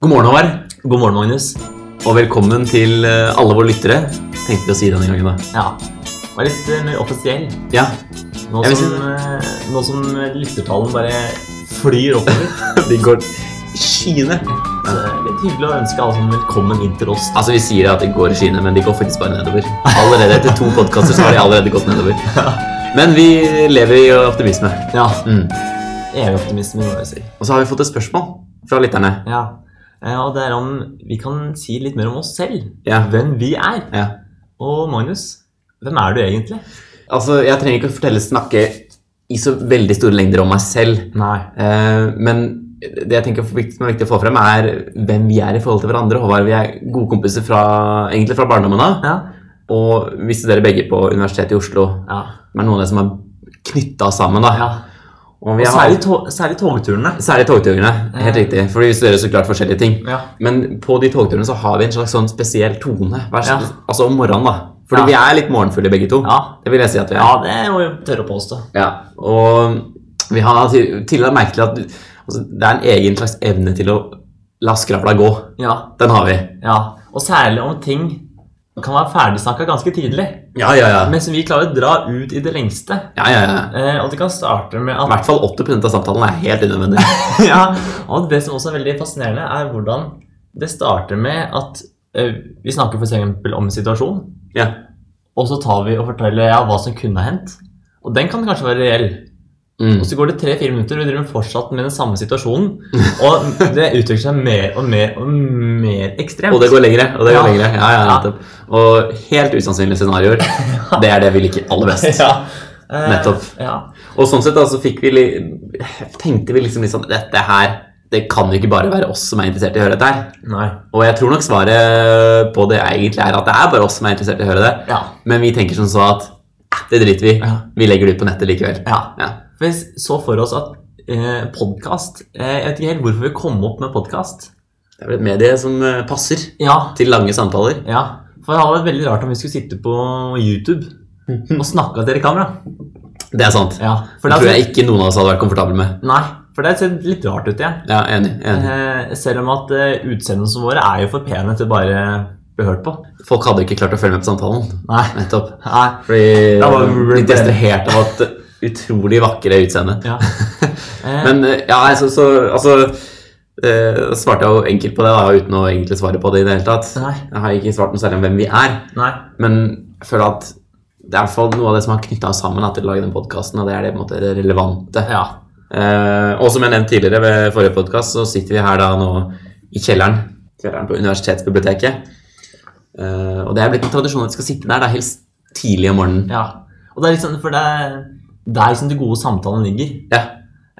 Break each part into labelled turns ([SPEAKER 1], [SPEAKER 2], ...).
[SPEAKER 1] God morgen, Håvard,
[SPEAKER 2] God morgen, Magnus.
[SPEAKER 1] og velkommen til eh, alle våre lyttere. Tenkte vi å si denne gangen, da.
[SPEAKER 2] Ja, Vær litt eh, mer offisiell.
[SPEAKER 1] Ja,
[SPEAKER 2] Nå
[SPEAKER 1] Jeg vil
[SPEAKER 2] som,
[SPEAKER 1] si
[SPEAKER 2] eh, nå som lyttertallene bare flyr oppover.
[SPEAKER 1] de går i skyene.
[SPEAKER 2] Så det er litt hyggelig å ønske alle sammen velkommen inn til oss.
[SPEAKER 1] Altså, vi sier at de går i skyene, men de går faktisk bare nedover. Allerede etter to podkaster så har de allerede gått nedover. Men vi lever i optimisme.
[SPEAKER 2] Ja,
[SPEAKER 1] Mm.
[SPEAKER 2] Evig optimisme, må jeg si.
[SPEAKER 1] Og så har vi fått et spørsmål fra lytterne.
[SPEAKER 2] Ja. Eh, Og det er om vi kan si litt mer om oss selv.
[SPEAKER 1] Ja.
[SPEAKER 2] Hvem vi er.
[SPEAKER 1] Ja.
[SPEAKER 2] Og Magnus, hvem er du egentlig?
[SPEAKER 1] Altså, jeg trenger ikke å fortelle snakke i så veldig store lengder om meg selv.
[SPEAKER 2] Nei.
[SPEAKER 1] Eh, men det jeg tenker er viktig- som er viktig å få frem, er hvem vi er i forhold til hverandre. Håvard, vi er gode kompiser fra, egentlig fra barndommen av.
[SPEAKER 2] Ja.
[SPEAKER 1] Og vi studerer begge på Universitetet i Oslo.
[SPEAKER 2] ja.
[SPEAKER 1] Det er noen av det som er knytta sammen. da.
[SPEAKER 2] ja.
[SPEAKER 1] Og
[SPEAKER 2] Og
[SPEAKER 1] vi har,
[SPEAKER 2] særlig, to særlig togturene.
[SPEAKER 1] særlig togturene. Helt
[SPEAKER 2] Ja.
[SPEAKER 1] riktig. Fordi vi studerer så klart forskjellige ting.
[SPEAKER 2] Ja.
[SPEAKER 1] Men på de togturene så har vi en slags sånn spesiell tone. Hver,
[SPEAKER 2] Ja.
[SPEAKER 1] Altså om morgenen, da. Fordi
[SPEAKER 2] Ja.
[SPEAKER 1] vi er litt morgenfulle begge to.
[SPEAKER 2] Ja.
[SPEAKER 1] Det vil jeg si at vi er.
[SPEAKER 2] ja, det må vi tørre å påstå.
[SPEAKER 1] Ja, og vi har til- tidligere merket til at altså, det er en egen slags evne til å la skravla gå.
[SPEAKER 2] Ja.
[SPEAKER 1] Den har vi.
[SPEAKER 2] Ja, og særlig om ting kan være ferdigsnakka ganske tidlig.
[SPEAKER 1] Ja, ja, ja.
[SPEAKER 2] Mens vi klarer å dra ut i det lengste.
[SPEAKER 1] ja, ja, ja.
[SPEAKER 2] Eh, og det kan starte med
[SPEAKER 1] I
[SPEAKER 2] at
[SPEAKER 1] hvert fall 80 av samtalen er helt unødvendig.
[SPEAKER 2] ja, Og det som også er veldig fascinerende, er hvordan det starter med at eh, vi snakker f.eks. om en situasjon,
[SPEAKER 1] ja.
[SPEAKER 2] og så tar vi og forteller ja, hva som kunne ha hendt. Og den kan kanskje være reell.
[SPEAKER 1] Mm.
[SPEAKER 2] Og så går det tre-fire minutter, og vi driver fortsatt med den samme situasjonen. Og det utvikler seg mer og mer og mer ekstremt.
[SPEAKER 1] Og det går lengre. Og det går
[SPEAKER 2] Ja.
[SPEAKER 1] lengre. Ja, ja,
[SPEAKER 2] Ja.
[SPEAKER 1] nettopp. Og helt usannsynlige scenarioer. Det er det vi liker aller best.
[SPEAKER 2] ja. Eh,
[SPEAKER 1] Nettopp.
[SPEAKER 2] Ja.
[SPEAKER 1] Og sånn sett da, så fikk vi li- tenkte vi liksom litt sånn Dette her det kan jo ikke bare være oss som er interessert i å høre dette her.
[SPEAKER 2] Nei.
[SPEAKER 1] Og jeg tror nok svaret på det egentlig er at det er bare oss som er interessert i å høre det.
[SPEAKER 2] Ja.
[SPEAKER 1] Men vi tenker som så at "Eh, det driter vi i.
[SPEAKER 2] Ja.
[SPEAKER 1] Vi legger det ut på nettet likevel.
[SPEAKER 2] ja.
[SPEAKER 1] Ja.
[SPEAKER 2] Vi så for oss at eh, podkast eh, Jeg vet ikke helt hvorfor vi kom opp med podkast.
[SPEAKER 1] Det er vel et medie som eh, passer
[SPEAKER 2] Ja,
[SPEAKER 1] til lange samtaler.
[SPEAKER 2] ja. For det hadde vært veldig rart om vi skulle sitte på YouTube og snakke til dere i kamera.
[SPEAKER 1] Det er sant.
[SPEAKER 2] Ja, for
[SPEAKER 1] Det tror
[SPEAKER 2] det hadde,
[SPEAKER 1] jeg ikke noen av oss hadde vært komfortable med.
[SPEAKER 2] nei, for det ser litt rart ut igjen.
[SPEAKER 1] Ja, enig, enig.
[SPEAKER 2] Eh, selv om at eh, utseendelsene våre er jo for pene til bare å bli hørt på.
[SPEAKER 1] Folk hadde ikke klart å følge med på samtalen.
[SPEAKER 2] Nei.
[SPEAKER 1] Nettopp.
[SPEAKER 2] nei.
[SPEAKER 1] Fordi
[SPEAKER 2] Da var
[SPEAKER 1] de
[SPEAKER 2] vi-
[SPEAKER 1] ble distrahert av at utrolig vakre utseende.
[SPEAKER 2] Ja. Eh,
[SPEAKER 1] Men eh, ja, altså, så, altså eh, svarte jeg jo enkelt på det da, uten å egentlig svare på det i det hele tatt.
[SPEAKER 2] Nei.
[SPEAKER 1] Jeg har ikke svart noe særlig om hvem vi er,
[SPEAKER 2] nei.
[SPEAKER 1] men jeg føler at det er i hvert fall noe av det som har knytta oss sammen da, til å lage den podkasten, og det er det, på en måte, det relevante.
[SPEAKER 2] Ja.
[SPEAKER 1] Eh, og som jeg nevnte tidligere ved forrige podkast, så sitter vi her da nå i kjelleren. Kjelleren på universitetsbiblioteket. Eh, og det er blitt en tradisjon at vi skal sitte der da helst tidlig om morgenen.
[SPEAKER 2] ja. Og det er liksom, for det er det er liksom de gode samtalene ligger.
[SPEAKER 1] Ja.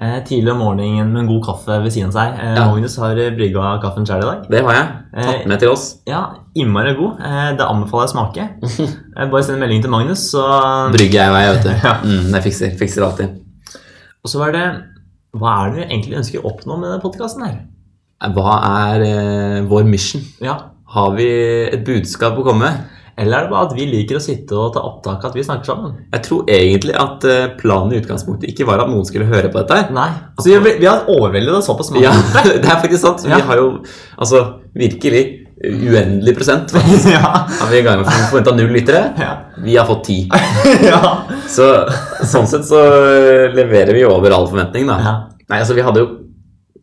[SPEAKER 2] Eh, tidlig om morgenen med en god kaffe ved siden av seg. Eh,
[SPEAKER 1] Ja.
[SPEAKER 2] Magnus har eh, brygga kaffen sjøl i dag.
[SPEAKER 1] Det har jeg tatt med til oss.
[SPEAKER 2] Ja, innmari god. Eh, det anbefaler jeg å smake. Eh, bare send en melding til Magnus, så
[SPEAKER 1] Brygger jeg i vei, vet du.
[SPEAKER 2] Eh, Ja.
[SPEAKER 1] Mm, jeg fikser, fikser alltid.
[SPEAKER 2] Og så var det Hva er det du egentlig ønsker å oppnå med denne podkasten her?
[SPEAKER 1] Hva er eh, vår mission?
[SPEAKER 2] Ja.
[SPEAKER 1] Har vi et budskap å komme med?
[SPEAKER 2] Eller er det bare at vi liker å sitte og ta opptak av at vi snakker sammen?
[SPEAKER 1] Jeg tror egentlig at eh, planen i utgangspunktet ikke var at noen skulle høre på dette. her.
[SPEAKER 2] Nei. Altså, vi, har- vi har overveldet oss såpass mange.
[SPEAKER 1] Ja, det er faktisk sant. Vi
[SPEAKER 2] Ja.
[SPEAKER 1] har jo altså virkelig uendelig prosent.
[SPEAKER 2] ja.
[SPEAKER 1] Har vi i gang med å forvente null lyttere?
[SPEAKER 2] ja.
[SPEAKER 1] Vi har fått ti.
[SPEAKER 2] ja.
[SPEAKER 1] Så sånn sett så leverer vi jo over all forventning, da.
[SPEAKER 2] ja.
[SPEAKER 1] Nei, altså vi hadde jo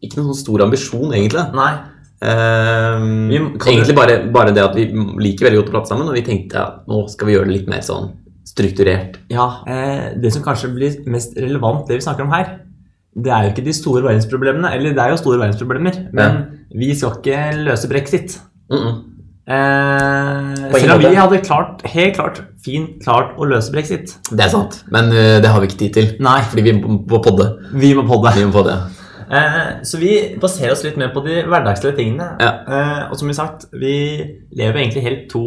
[SPEAKER 1] ikke noen sånn stor ambisjon, egentlig.
[SPEAKER 2] Nei.
[SPEAKER 1] Ehm,
[SPEAKER 2] Vi kan-
[SPEAKER 1] egentlig bare, bare det at vi liker veldig godt å prate sammen, og vi tenkte at nå skal vi gjøre det litt mer sånn strukturert.
[SPEAKER 2] Ja. Eh, det som kanskje blir mest relevant, det vi snakker om her, det er jo ikke de store verdensproblemene. Eller det er jo store verdensproblemer, men vi skal ikke løse brexit.
[SPEAKER 1] Mm -mm.
[SPEAKER 2] Eh,
[SPEAKER 1] På ingen
[SPEAKER 2] selv om vi
[SPEAKER 1] måte.
[SPEAKER 2] hadde klart, helt klart, fint klart å løse brexit.
[SPEAKER 1] Det er sant, men øh, det har vi ikke tid til.
[SPEAKER 2] Nei,
[SPEAKER 1] Fordi vi må podde.
[SPEAKER 2] vi må podde.
[SPEAKER 1] Vi må podde.
[SPEAKER 2] Eh, så vi baserer oss litt mer på de hverdagslige tingene.
[SPEAKER 1] Ja.
[SPEAKER 2] Eh, og som vi sagt, vi lever egentlig helt to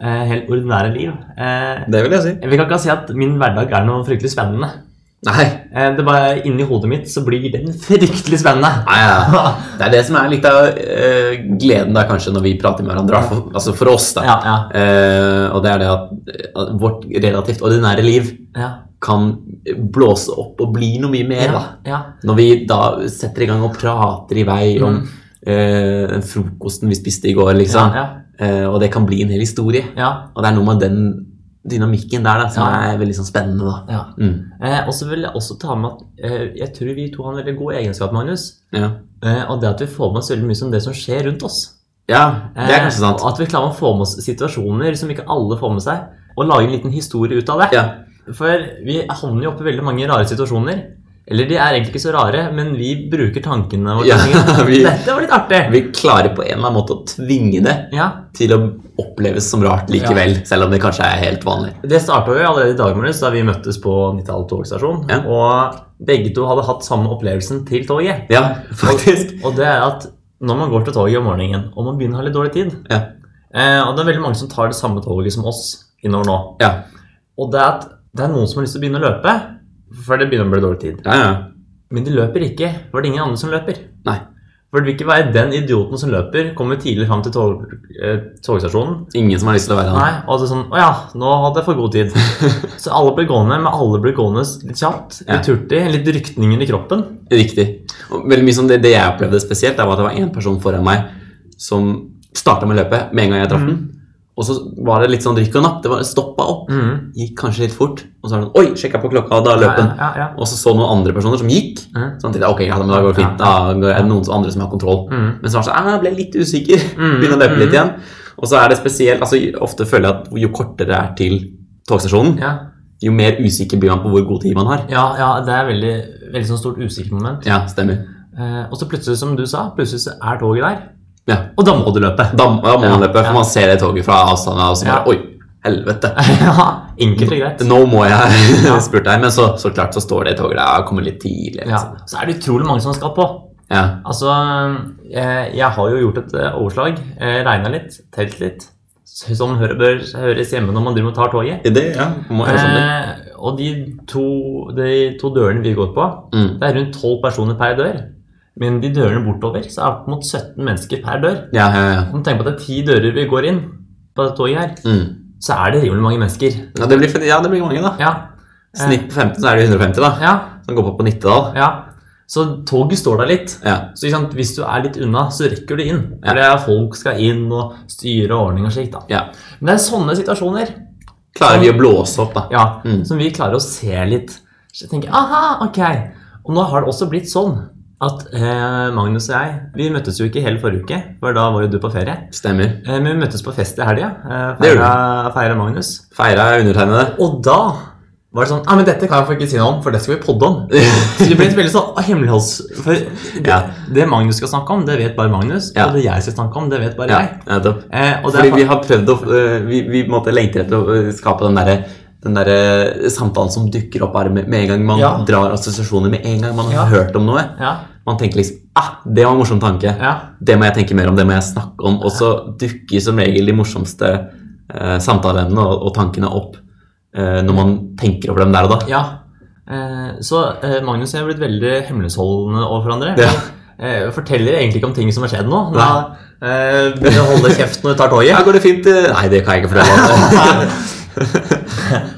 [SPEAKER 2] eh, helt ordinære liv. Eh,
[SPEAKER 1] Det vil jeg si.
[SPEAKER 2] vi kan ikke si at min hverdag er noe fryktelig spennende.
[SPEAKER 1] Nei.
[SPEAKER 2] Eh, det er bare Inni hodet mitt så blir den fryktelig spennende.
[SPEAKER 1] Nei, ja. Det er det som er litt av øh, gleden da kanskje når vi prater med hverandre. For, altså for oss, da.
[SPEAKER 2] Ja, ja,
[SPEAKER 1] Eh, og det er det at at vårt relativt ordinære liv
[SPEAKER 2] ja,
[SPEAKER 1] kan blåse opp og bli noe mye mer.
[SPEAKER 2] ja,
[SPEAKER 1] da.
[SPEAKER 2] ja.
[SPEAKER 1] Når vi da setter i gang og prater i vei om eh, den frokosten vi spiste i går, liksom.
[SPEAKER 2] Mm. Ja,
[SPEAKER 1] Eh, og det kan bli en hel historie.
[SPEAKER 2] ja,
[SPEAKER 1] Og det er noe med den dynamikken der da, som
[SPEAKER 2] Ja.
[SPEAKER 1] er veldig sånn spennende. da.
[SPEAKER 2] ja.
[SPEAKER 1] Mm.
[SPEAKER 2] Eh, og så vil jeg også ta med at eh, jeg tror vi to har en veldig god egenskap, Magnus.
[SPEAKER 1] Ja.
[SPEAKER 2] Eh, og det at vi får med oss veldig mye som det som skjer rundt oss.
[SPEAKER 1] ja, det er
[SPEAKER 2] Eh,
[SPEAKER 1] kanskje sant.
[SPEAKER 2] Og at vi klarer å få med oss situasjoner som ikke alle får med seg, og lage en liten historie ut av det.
[SPEAKER 1] Ja.
[SPEAKER 2] For vi havner jo oppe i veldig mange rare situasjoner. Eller de er egentlig ikke så rare, men vi bruker tankene våre.
[SPEAKER 1] Ja,
[SPEAKER 2] og tenker,
[SPEAKER 1] vi-
[SPEAKER 2] Dette var litt artig!
[SPEAKER 1] Vi klarer på en eller annen måte å tvinge det
[SPEAKER 2] Ja,
[SPEAKER 1] til å oppleves som rart likevel, selv om det kanskje er helt vanlig.
[SPEAKER 2] Det starta jo allerede i dag morges da vi møttes på Nittedal togstasjon.
[SPEAKER 1] Ja.
[SPEAKER 2] Og begge to hadde hatt samme opplevelsen til toget.
[SPEAKER 1] Ja, faktisk.
[SPEAKER 2] Og det er at når man går til toget om morgenen, og man begynner å ha litt dårlig tid
[SPEAKER 1] Ja.
[SPEAKER 2] eh, Og det er veldig mange som tar det samme toget som oss innover nå.
[SPEAKER 1] Ja,
[SPEAKER 2] Og det er at det er noen som har lyst til å begynne å løpe, for det begynner å bli dårlig tid.
[SPEAKER 1] ja, ja.
[SPEAKER 2] Men de løper ikke, for det er ingen andre som løper.
[SPEAKER 1] Nei.
[SPEAKER 2] For det vil ikke være den idioten som løper, kommer tidlig fram til tog, eh, togstasjonen.
[SPEAKER 1] Ingen som har lyst til å være han.
[SPEAKER 2] Nei, og så sånn Å ja, nå hadde jeg for god tid. så alle blir gående, men alle blir gående litt kjapt, litt
[SPEAKER 1] Ja.
[SPEAKER 2] hurtig, litt rykninger i kroppen.
[SPEAKER 1] Riktig. Og veldig mye som det, det jeg opplevde spesielt, det var at det var en person foran meg som starta med løpet med en gang jeg traff
[SPEAKER 2] Mm.
[SPEAKER 1] den. Og så var det litt sånn drikk og napp. Det var stoppa opp.
[SPEAKER 2] Mhm.
[SPEAKER 1] Gikk kanskje litt fort. Og så er det sånn Oi, sjekka på klokka, og da løp den.
[SPEAKER 2] Ja, ja, ja.
[SPEAKER 1] Og så så noen andre personer som gikk.
[SPEAKER 2] Mhm.
[SPEAKER 1] Sånn til, ok, ja, men da går det fint. Da er det noen som- andre som har kontroll.
[SPEAKER 2] Mhm.
[SPEAKER 1] Men så var det sånn, «Ah, jeg ble litt usikker.
[SPEAKER 2] Mm,
[SPEAKER 1] Begynner å løpe litt
[SPEAKER 2] mm.
[SPEAKER 1] igjen. Og så er det spesielt, altså ofte føler jeg at jo kortere det er til togstasjonen,
[SPEAKER 2] Ja,
[SPEAKER 1] jo mer usikker blir man på hvor god tid man har.
[SPEAKER 2] ja, ja det er veldig, veldig sånn stort usikkert moment.
[SPEAKER 1] Ja, stemmer.
[SPEAKER 2] Eh, og så plutselig, som du sa, plutselig så er toget der.
[SPEAKER 1] Ja.
[SPEAKER 2] Og da må du løpe.
[SPEAKER 1] Da, må- da må man
[SPEAKER 2] Ja,
[SPEAKER 1] løpe,
[SPEAKER 2] ja.
[SPEAKER 1] for man ser det toget fra avstanden, og så bare
[SPEAKER 2] Ja.
[SPEAKER 1] Oi, helvete.
[SPEAKER 2] ja, enkelt og greit.
[SPEAKER 1] Nå må jeg spurte jeg, men så, så klart så står det toget der og kommer litt tidlig.
[SPEAKER 2] Ja,
[SPEAKER 1] Liksom.
[SPEAKER 2] så er det utrolig mange som skal på.
[SPEAKER 1] Ja.
[SPEAKER 2] Altså, eh, jeg har jo gjort et eh, overslag. Regna litt, telt litt. Som hører, bør høres hjemme når man driver og tar toget.
[SPEAKER 1] Det, ja. Må gjøre sånn det.
[SPEAKER 2] Eh, og de to, de to dørene vi går på,
[SPEAKER 1] Mm.
[SPEAKER 2] det er rundt tolv personer per dør. Men de dørene bortover så er det opp mot 17 mennesker per dør.
[SPEAKER 1] Ja, ja, ja.
[SPEAKER 2] Om du tenker på at det er ti dører vi går inn på dette toget her,
[SPEAKER 1] Mm.
[SPEAKER 2] så er det rimelig mange mennesker.
[SPEAKER 1] Ja, det blir, ja, det blir mange, da.
[SPEAKER 2] Ja. Eh,
[SPEAKER 1] Snitt på 15, så er det 150, da.
[SPEAKER 2] Ja,
[SPEAKER 1] Som går på på Nittedal.
[SPEAKER 2] ja. Så toget står der litt.
[SPEAKER 1] Ja.
[SPEAKER 2] Så ikke sant, Hvis du er litt unna, så rekker du inn.
[SPEAKER 1] Ja.
[SPEAKER 2] For det er folk skal inn og styre ordning og slikt. da.
[SPEAKER 1] ja.
[SPEAKER 2] Men det er sånne situasjoner
[SPEAKER 1] Klarer vi å blåse opp, da?
[SPEAKER 2] ja,
[SPEAKER 1] Mm.
[SPEAKER 2] som vi klarer å se litt. Så jeg tenker, aha, ok. Og nå har det også blitt sånn at eh, Magnus og jeg vi møttes jo ikke hele forrige uke, for da var jo du på ferie.
[SPEAKER 1] Stemmer.
[SPEAKER 2] Eh, men vi møttes på fest i helga. Eh,
[SPEAKER 1] Det gjorde
[SPEAKER 2] feira- feira Magnus.
[SPEAKER 1] Feira er undertegnede.
[SPEAKER 2] Og da var det sånn Ja, men dette kan jeg faktisk ikke si noe om, for det skal vi podde om. Så det ble et veldig sånn hemmeligholds... For det,
[SPEAKER 1] Ja.
[SPEAKER 2] det Magnus skal snakke om, det vet bare Magnus.
[SPEAKER 1] Ja.
[SPEAKER 2] Og det jeg skal snakke om, det vet bare
[SPEAKER 1] Ja,
[SPEAKER 2] jeg.
[SPEAKER 1] nettopp.
[SPEAKER 2] Eh, og det
[SPEAKER 1] Fordi
[SPEAKER 2] er,
[SPEAKER 1] vi har prøvd å øh, Vi, vi på en måte lengter etter å øh, skape den derre den der øh, samtalen som dukker opp bare med, med en gang man
[SPEAKER 2] Ja.
[SPEAKER 1] drar assosiasjoner med en gang man har
[SPEAKER 2] Ja.
[SPEAKER 1] hørt om noe.
[SPEAKER 2] ja,
[SPEAKER 1] Man tenker liksom ah, det var en morsom tanke.
[SPEAKER 2] ja,
[SPEAKER 1] Det må jeg tenke mer om, det må jeg snakke om. Og så dukker som regel de morsomste eh, samtaleemnene og, og tankene opp eh, når man tenker over dem der og da.
[SPEAKER 2] ja. Eh, så eh, Magnus og jeg har blitt veldig hemmeligholdsholdende overfor hverandre.
[SPEAKER 1] Ja.
[SPEAKER 2] Eh, forteller egentlig ikke om ting som har skjedd nå. Da eh, begynner jeg å holde kjeft når du tar toget.
[SPEAKER 1] Ja, går det fint? eh? Nei, det kan jeg ikke fortelle.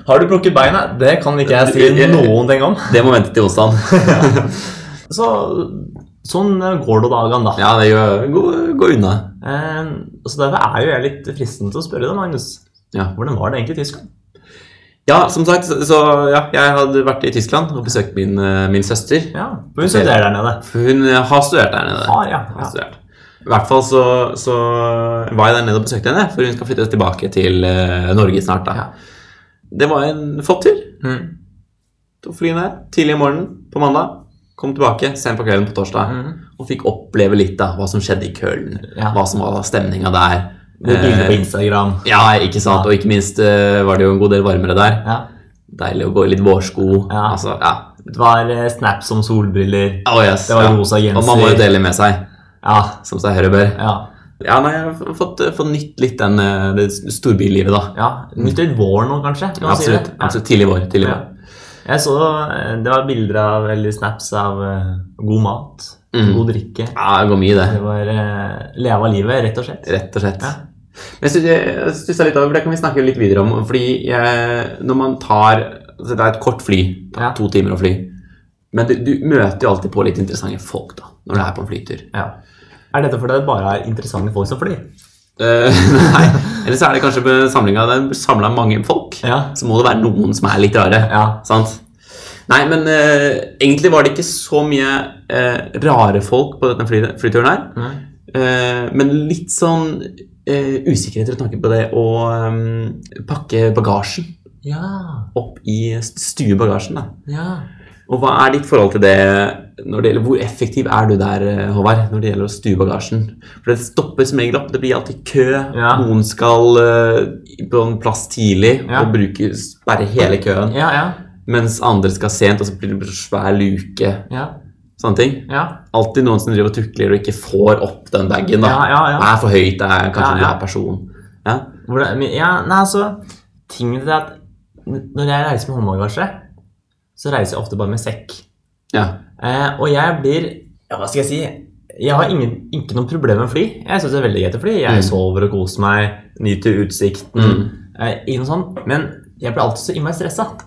[SPEAKER 2] Har du brukket beina? Det kan ikke jeg si noen ting om.
[SPEAKER 1] det må vente til onsdag.
[SPEAKER 2] Så sånn eh, går det dagen, da.
[SPEAKER 1] Ja, det gjør Gå, gå unna.
[SPEAKER 2] Eh, så derfor er jo jeg litt fristende til å spørre deg, Magnus.
[SPEAKER 1] Ja.
[SPEAKER 2] Hvordan var det egentlig i Tyskland?
[SPEAKER 1] Ja, som sagt, så så, ja, jeg hadde vært i Tyskland og besøkt min, eh, min søster.
[SPEAKER 2] Ja, for hun studerer der nede.
[SPEAKER 1] For hun eh, har studert der nede.
[SPEAKER 2] Har, ja.
[SPEAKER 1] Har studert. I hvert fall så, så var jeg der nede og besøkte henne, for hun skal flytte tilbake til eh, Norge snart. da.
[SPEAKER 2] Ja.
[SPEAKER 1] Det var en flott tur.
[SPEAKER 2] Mm.
[SPEAKER 1] Tok flyene her tidlig om morgenen på mandag. Kom tilbake sent på kvelden på torsdag
[SPEAKER 2] Mhm.
[SPEAKER 1] og fikk oppleve litt da, hva som skjedde i Køln.
[SPEAKER 2] Ja.
[SPEAKER 1] Hva som var stemninga der.
[SPEAKER 2] Det er bilder
[SPEAKER 1] Eh,
[SPEAKER 2] på Instagram.
[SPEAKER 1] ja, ikke sant. Og ikke minst eh, var det jo en god del varmere der.
[SPEAKER 2] Ja.
[SPEAKER 1] Deilig å gå i litt vårsko.
[SPEAKER 2] Ja.
[SPEAKER 1] Altså, ja.
[SPEAKER 2] Det var eh, snaps om solbriller.
[SPEAKER 1] Oh, yes,
[SPEAKER 2] Det var
[SPEAKER 1] ja.
[SPEAKER 2] rosa genser.
[SPEAKER 1] Og man må jo dele med seg,
[SPEAKER 2] Ja,
[SPEAKER 1] som seg hører bør.
[SPEAKER 2] ja.
[SPEAKER 1] Ja, nei, jeg har fått, fått nytt litt den, eh, det storbylivet, da.
[SPEAKER 2] ja. Nytt litt vår nå, kanskje? kan man si
[SPEAKER 1] Absolutt.
[SPEAKER 2] det? Ja.
[SPEAKER 1] absolutt Tidlig vår. tidlig vår.
[SPEAKER 2] Ja. Jeg så eh, det var bilder av eller snaps av eh, god mat,
[SPEAKER 1] Mm.
[SPEAKER 2] god drikke.
[SPEAKER 1] Ja, det går mye i det.
[SPEAKER 2] Det var eh, leve av livet, rett og slett.
[SPEAKER 1] Rett og slett.
[SPEAKER 2] Ja.
[SPEAKER 1] Men jeg stus- jeg stussa litt over, det kan vi snakke litt videre om. Fordi eh, når man tar altså Det er et kort fly. Det
[SPEAKER 2] Ja.
[SPEAKER 1] tar To timer å fly. Men du, du møter jo alltid på litt interessante folk da, når du er på en flytur.
[SPEAKER 2] Ja. Er dette fordi det bare er interessante folk som flyr?
[SPEAKER 1] Eh, nei. Eller så er det kanskje på samlinga den samla mange folk.
[SPEAKER 2] Ja.
[SPEAKER 1] Så må det være noen som er litt rare.
[SPEAKER 2] Ja.
[SPEAKER 1] Sant? Nei, men eh, egentlig var det ikke så mye eh, rare folk på denne fly flyturen her. Eh, men litt sånn eh, usikkerhet rundt tanken på det å eh, pakke bagasjen
[SPEAKER 2] Ja.
[SPEAKER 1] opp i stuebagasjen. da.
[SPEAKER 2] Ja.
[SPEAKER 1] Og hva er ditt forhold til det når det gjelder Hvor effektiv er du der, eh, Håvard, når det gjelder å stue bagasjen? For det stopper som regel opp. Det blir alltid kø.
[SPEAKER 2] Ja.
[SPEAKER 1] Noen skal eh, på en plass tidlig
[SPEAKER 2] Ja.
[SPEAKER 1] og bruke, sperre hele køen.
[SPEAKER 2] Ja, ja.
[SPEAKER 1] Mens andre skal sent, og så blir det svær luke.
[SPEAKER 2] Ja.
[SPEAKER 1] Sånne ting.
[SPEAKER 2] Ja.
[SPEAKER 1] Alltid noen som driver og tukler og ikke får opp den bagen. da.
[SPEAKER 2] Ja, ja, ja.
[SPEAKER 1] Det er for høyt. Det er kanskje
[SPEAKER 2] Ja,
[SPEAKER 1] en
[SPEAKER 2] ja.
[SPEAKER 1] rar person. Ja.
[SPEAKER 2] Hvordan, men- ja, nei, altså Tingen er at når jeg reiser med håndbagasje, så reiser jeg ofte bare med sekk.
[SPEAKER 1] ja.
[SPEAKER 2] Eh, og jeg blir ja, Hva skal jeg si? Jeg har ingen, ikke noe problem med fly. Jeg syns det er veldig greit å fly. Jeg
[SPEAKER 1] Mm.
[SPEAKER 2] sover og koser meg, nyter utsikten.
[SPEAKER 1] Mm.
[SPEAKER 2] Eh, ikke noe sånt. Men jeg blir alltid så innmari stressa.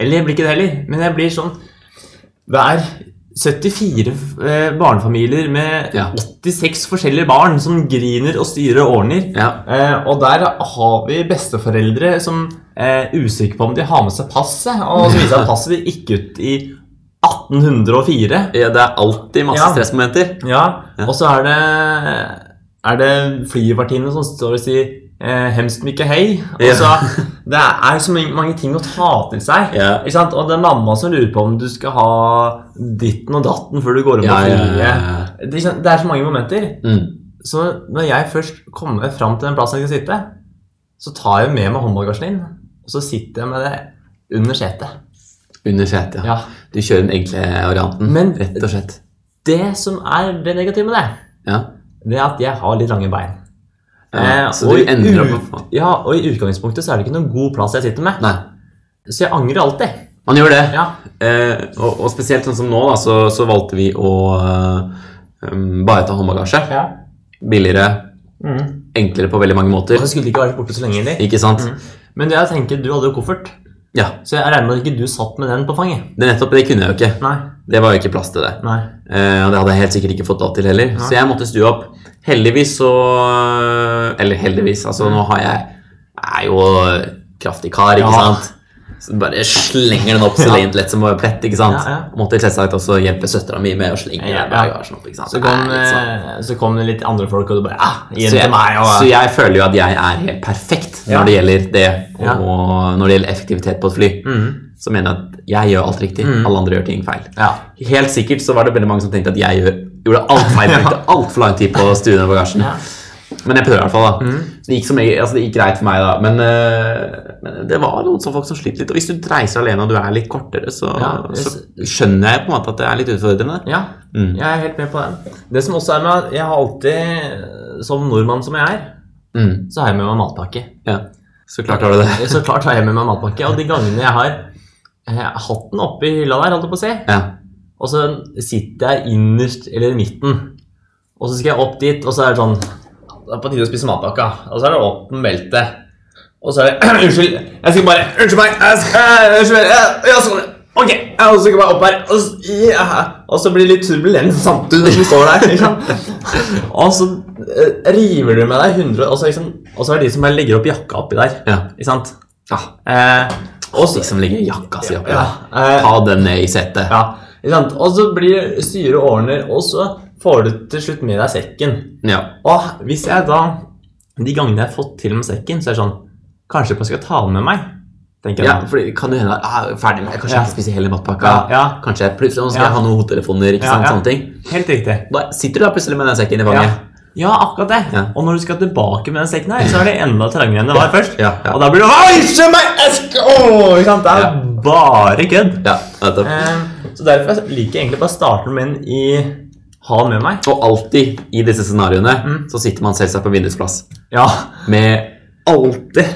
[SPEAKER 2] Eller jeg blir ikke det heller, men jeg blir sånn Hver 74 eh, barnefamilier med
[SPEAKER 1] Ja.
[SPEAKER 2] 86 forskjellige barn som griner og styrer og ordner.
[SPEAKER 1] ja.
[SPEAKER 2] Eh, og der har vi besteforeldre som eh, er usikre på om de har med seg passet, og så viser at passet gikk ut i 1804.
[SPEAKER 1] Ja, det er alltid masse
[SPEAKER 2] Ja.
[SPEAKER 1] stressmomenter.
[SPEAKER 2] Ja, og så er det, er det flyvertinnene som står og sier eh, 'hemst mykke hei'. Og
[SPEAKER 1] Ja.
[SPEAKER 2] så, det er så mange- mange ting å ta til seg.
[SPEAKER 1] Ja.
[SPEAKER 2] Ikke sant? Og det er mamma som lurer på om du skal ha ditten og datten før du går om
[SPEAKER 1] Ja,
[SPEAKER 2] og
[SPEAKER 1] ja,
[SPEAKER 2] flyr.
[SPEAKER 1] ja, ja.
[SPEAKER 2] Det, er ikke sant? det er så mange momenter.
[SPEAKER 1] Mm.
[SPEAKER 2] Så når jeg først kommer fram til den plassen jeg skal sitte, så tar jeg med meg håndbagasjen inn, og så sitter jeg med det under setet.
[SPEAKER 1] Under setet, ja.
[SPEAKER 2] Ja.
[SPEAKER 1] Du kjører den enkle varianten,
[SPEAKER 2] Men-
[SPEAKER 1] rett og slett.
[SPEAKER 2] Det som er det negative med det,
[SPEAKER 1] Ja.
[SPEAKER 2] det er at jeg har litt lange bein.
[SPEAKER 1] Ja,
[SPEAKER 2] Eh,
[SPEAKER 1] så
[SPEAKER 2] og
[SPEAKER 1] du
[SPEAKER 2] i
[SPEAKER 1] endrer
[SPEAKER 2] ut-
[SPEAKER 1] opp på-
[SPEAKER 2] Ja, og i utgangspunktet så er det ikke noen god plass jeg sitter med.
[SPEAKER 1] Nei,
[SPEAKER 2] Så jeg angrer alltid.
[SPEAKER 1] man gjør det.
[SPEAKER 2] Ja,
[SPEAKER 1] Eh, og, og spesielt sånn som nå, da, så, så valgte vi å eh, um, bare ta håndbagasje.
[SPEAKER 2] ja.
[SPEAKER 1] Billigere,
[SPEAKER 2] Mm.
[SPEAKER 1] enklere på veldig mange
[SPEAKER 2] Og
[SPEAKER 1] måter.
[SPEAKER 2] så skulle det ikke vært borte så lenge heller.
[SPEAKER 1] Ikke sant?
[SPEAKER 2] Mm. Men jeg tenker, du hadde jo koffert,
[SPEAKER 1] Ja,
[SPEAKER 2] så jeg regner med at ikke du satt med den på fanget.
[SPEAKER 1] det er nettopp det kunne jeg jo ikke.
[SPEAKER 2] Nei,
[SPEAKER 1] Det var jo ikke plass til det.
[SPEAKER 2] nei.
[SPEAKER 1] Eh, og det hadde jeg helt sikkert ikke fått lov til heller. Så jeg måtte stue opp. Heldigvis så Eller heldigvis, altså
[SPEAKER 2] Mm.
[SPEAKER 1] nå har jeg Jeg er jo kraftig kar, ikke
[SPEAKER 2] Ja.
[SPEAKER 1] sant? Så bare slenger den opp så
[SPEAKER 2] Ja.
[SPEAKER 1] lent lett som bare plett, ikke sant?
[SPEAKER 2] Ja, ja.
[SPEAKER 1] Og Måtte selvsagt også hjelpe søstera mi med å slenge
[SPEAKER 2] Ja, ja.
[SPEAKER 1] den bagasjen opp, ikke sant?
[SPEAKER 2] Så
[SPEAKER 1] Det
[SPEAKER 2] kom,
[SPEAKER 1] er litt sånn.
[SPEAKER 2] eh, så kom det litt andre folk, og du bare ja, igjen
[SPEAKER 1] så,
[SPEAKER 2] til
[SPEAKER 1] jeg,
[SPEAKER 2] meg. Og,
[SPEAKER 1] så jeg føler jo at jeg er helt perfekt
[SPEAKER 2] Ja.
[SPEAKER 1] når det gjelder det, og
[SPEAKER 2] Ja.
[SPEAKER 1] når det gjelder effektivitet på et fly.
[SPEAKER 2] Mhm.
[SPEAKER 1] Så mener jeg at jeg gjør alt riktig, alle andre gjør ting feil.
[SPEAKER 2] Mm. Ja.
[SPEAKER 1] Helt sikkert så var det veldig mange som tenkte at jeg gjør, gjorde alt feil. Brukte altfor lang tid på å stue ned bagasjen.
[SPEAKER 2] Ja. Mm.
[SPEAKER 1] Men jeg prøver i hvert fall. da. Så Det gikk, som, jeg- altså, det gikk greit for meg, da. Men, eh, men det var noen som folk som sliter litt. Og hvis du reiser alene og du er litt kortere, så,
[SPEAKER 2] Ja,
[SPEAKER 1] så skjønner jeg på en måte at det er litt utfordrende.
[SPEAKER 2] Ja,
[SPEAKER 1] Mm.
[SPEAKER 2] jeg er helt med på den. Det som også er med at jeg har alltid, som nordmann som jeg er,
[SPEAKER 1] Mm,
[SPEAKER 2] så har jeg med meg matpakke.
[SPEAKER 1] ja. Så klart har du det.
[SPEAKER 2] Så klart har jeg med meg matpakke, og de gangene jeg har eh, hatt den oppi hylla der, holdt jeg på å si,
[SPEAKER 1] Ja.
[SPEAKER 2] og så sitter jeg innerst eller i midten, og så skal jeg opp dit, og så er det sånn Det er på tide å spise matpakka, og så er det opp med beltet. Og så er det Unnskyld, jeg skal bare Unnskyld meg! Jeg skal, eh, unnskyld meg! eh, Ja, sånn. Ok, ja, og så skal jeg bare opp her, og så, ja. og så blir det litt turbulens samtidig som du står der. Ikke sant? Og så eh, river du med deg 100 Og så, liksom, og så er det de som bare legger opp jakka oppi der.
[SPEAKER 1] Ja.
[SPEAKER 2] Ikke sant?
[SPEAKER 1] ja.
[SPEAKER 2] Eh, og
[SPEAKER 1] De
[SPEAKER 2] så
[SPEAKER 1] som legger jakka si oppi
[SPEAKER 2] ja,
[SPEAKER 1] der.
[SPEAKER 2] eh,
[SPEAKER 1] Ta den ned i setet.
[SPEAKER 2] ja, ikke sant? Og så blir styret og ordner, og så får du til slutt med deg sekken.
[SPEAKER 1] Ja.
[SPEAKER 2] Og hvis jeg da De gangene jeg har fått til med sekken, så er det sånn Kanskje jeg bare skal ta den med meg? Tenker jeg.
[SPEAKER 1] ja for det kan jo hende at ah, jeg er ferdig med Kanskje jeg
[SPEAKER 2] Ja.
[SPEAKER 1] ikke spiser hele matpakka.
[SPEAKER 2] Ja, ja.
[SPEAKER 1] Kanskje jeg plutselig nå skal
[SPEAKER 2] Ja.
[SPEAKER 1] jeg ha noen hodetelefoner. ikke
[SPEAKER 2] Ja,
[SPEAKER 1] sant,
[SPEAKER 2] ja.
[SPEAKER 1] sånne ting.
[SPEAKER 2] Helt riktig.
[SPEAKER 1] Da sitter du da plutselig med den sekken i
[SPEAKER 2] Ja.
[SPEAKER 1] fanget.
[SPEAKER 2] ja, akkurat det.
[SPEAKER 1] Ja.
[SPEAKER 2] Og når du skal tilbake med den sekken her, så er det enda trangere enn det var først.
[SPEAKER 1] Ja, ja.
[SPEAKER 2] Og da blir det Oi, se meg! Jeg skal Åh, ikke sant? Det er bare kødd.
[SPEAKER 1] Ja, nettopp.
[SPEAKER 2] Eh, så derfor liker jeg egentlig bare starten min i ha den med meg.
[SPEAKER 1] Og alltid i disse scenarioene
[SPEAKER 2] Mm.
[SPEAKER 1] så sitter man selvsagt på vindusplass
[SPEAKER 2] Ja.
[SPEAKER 1] med alltid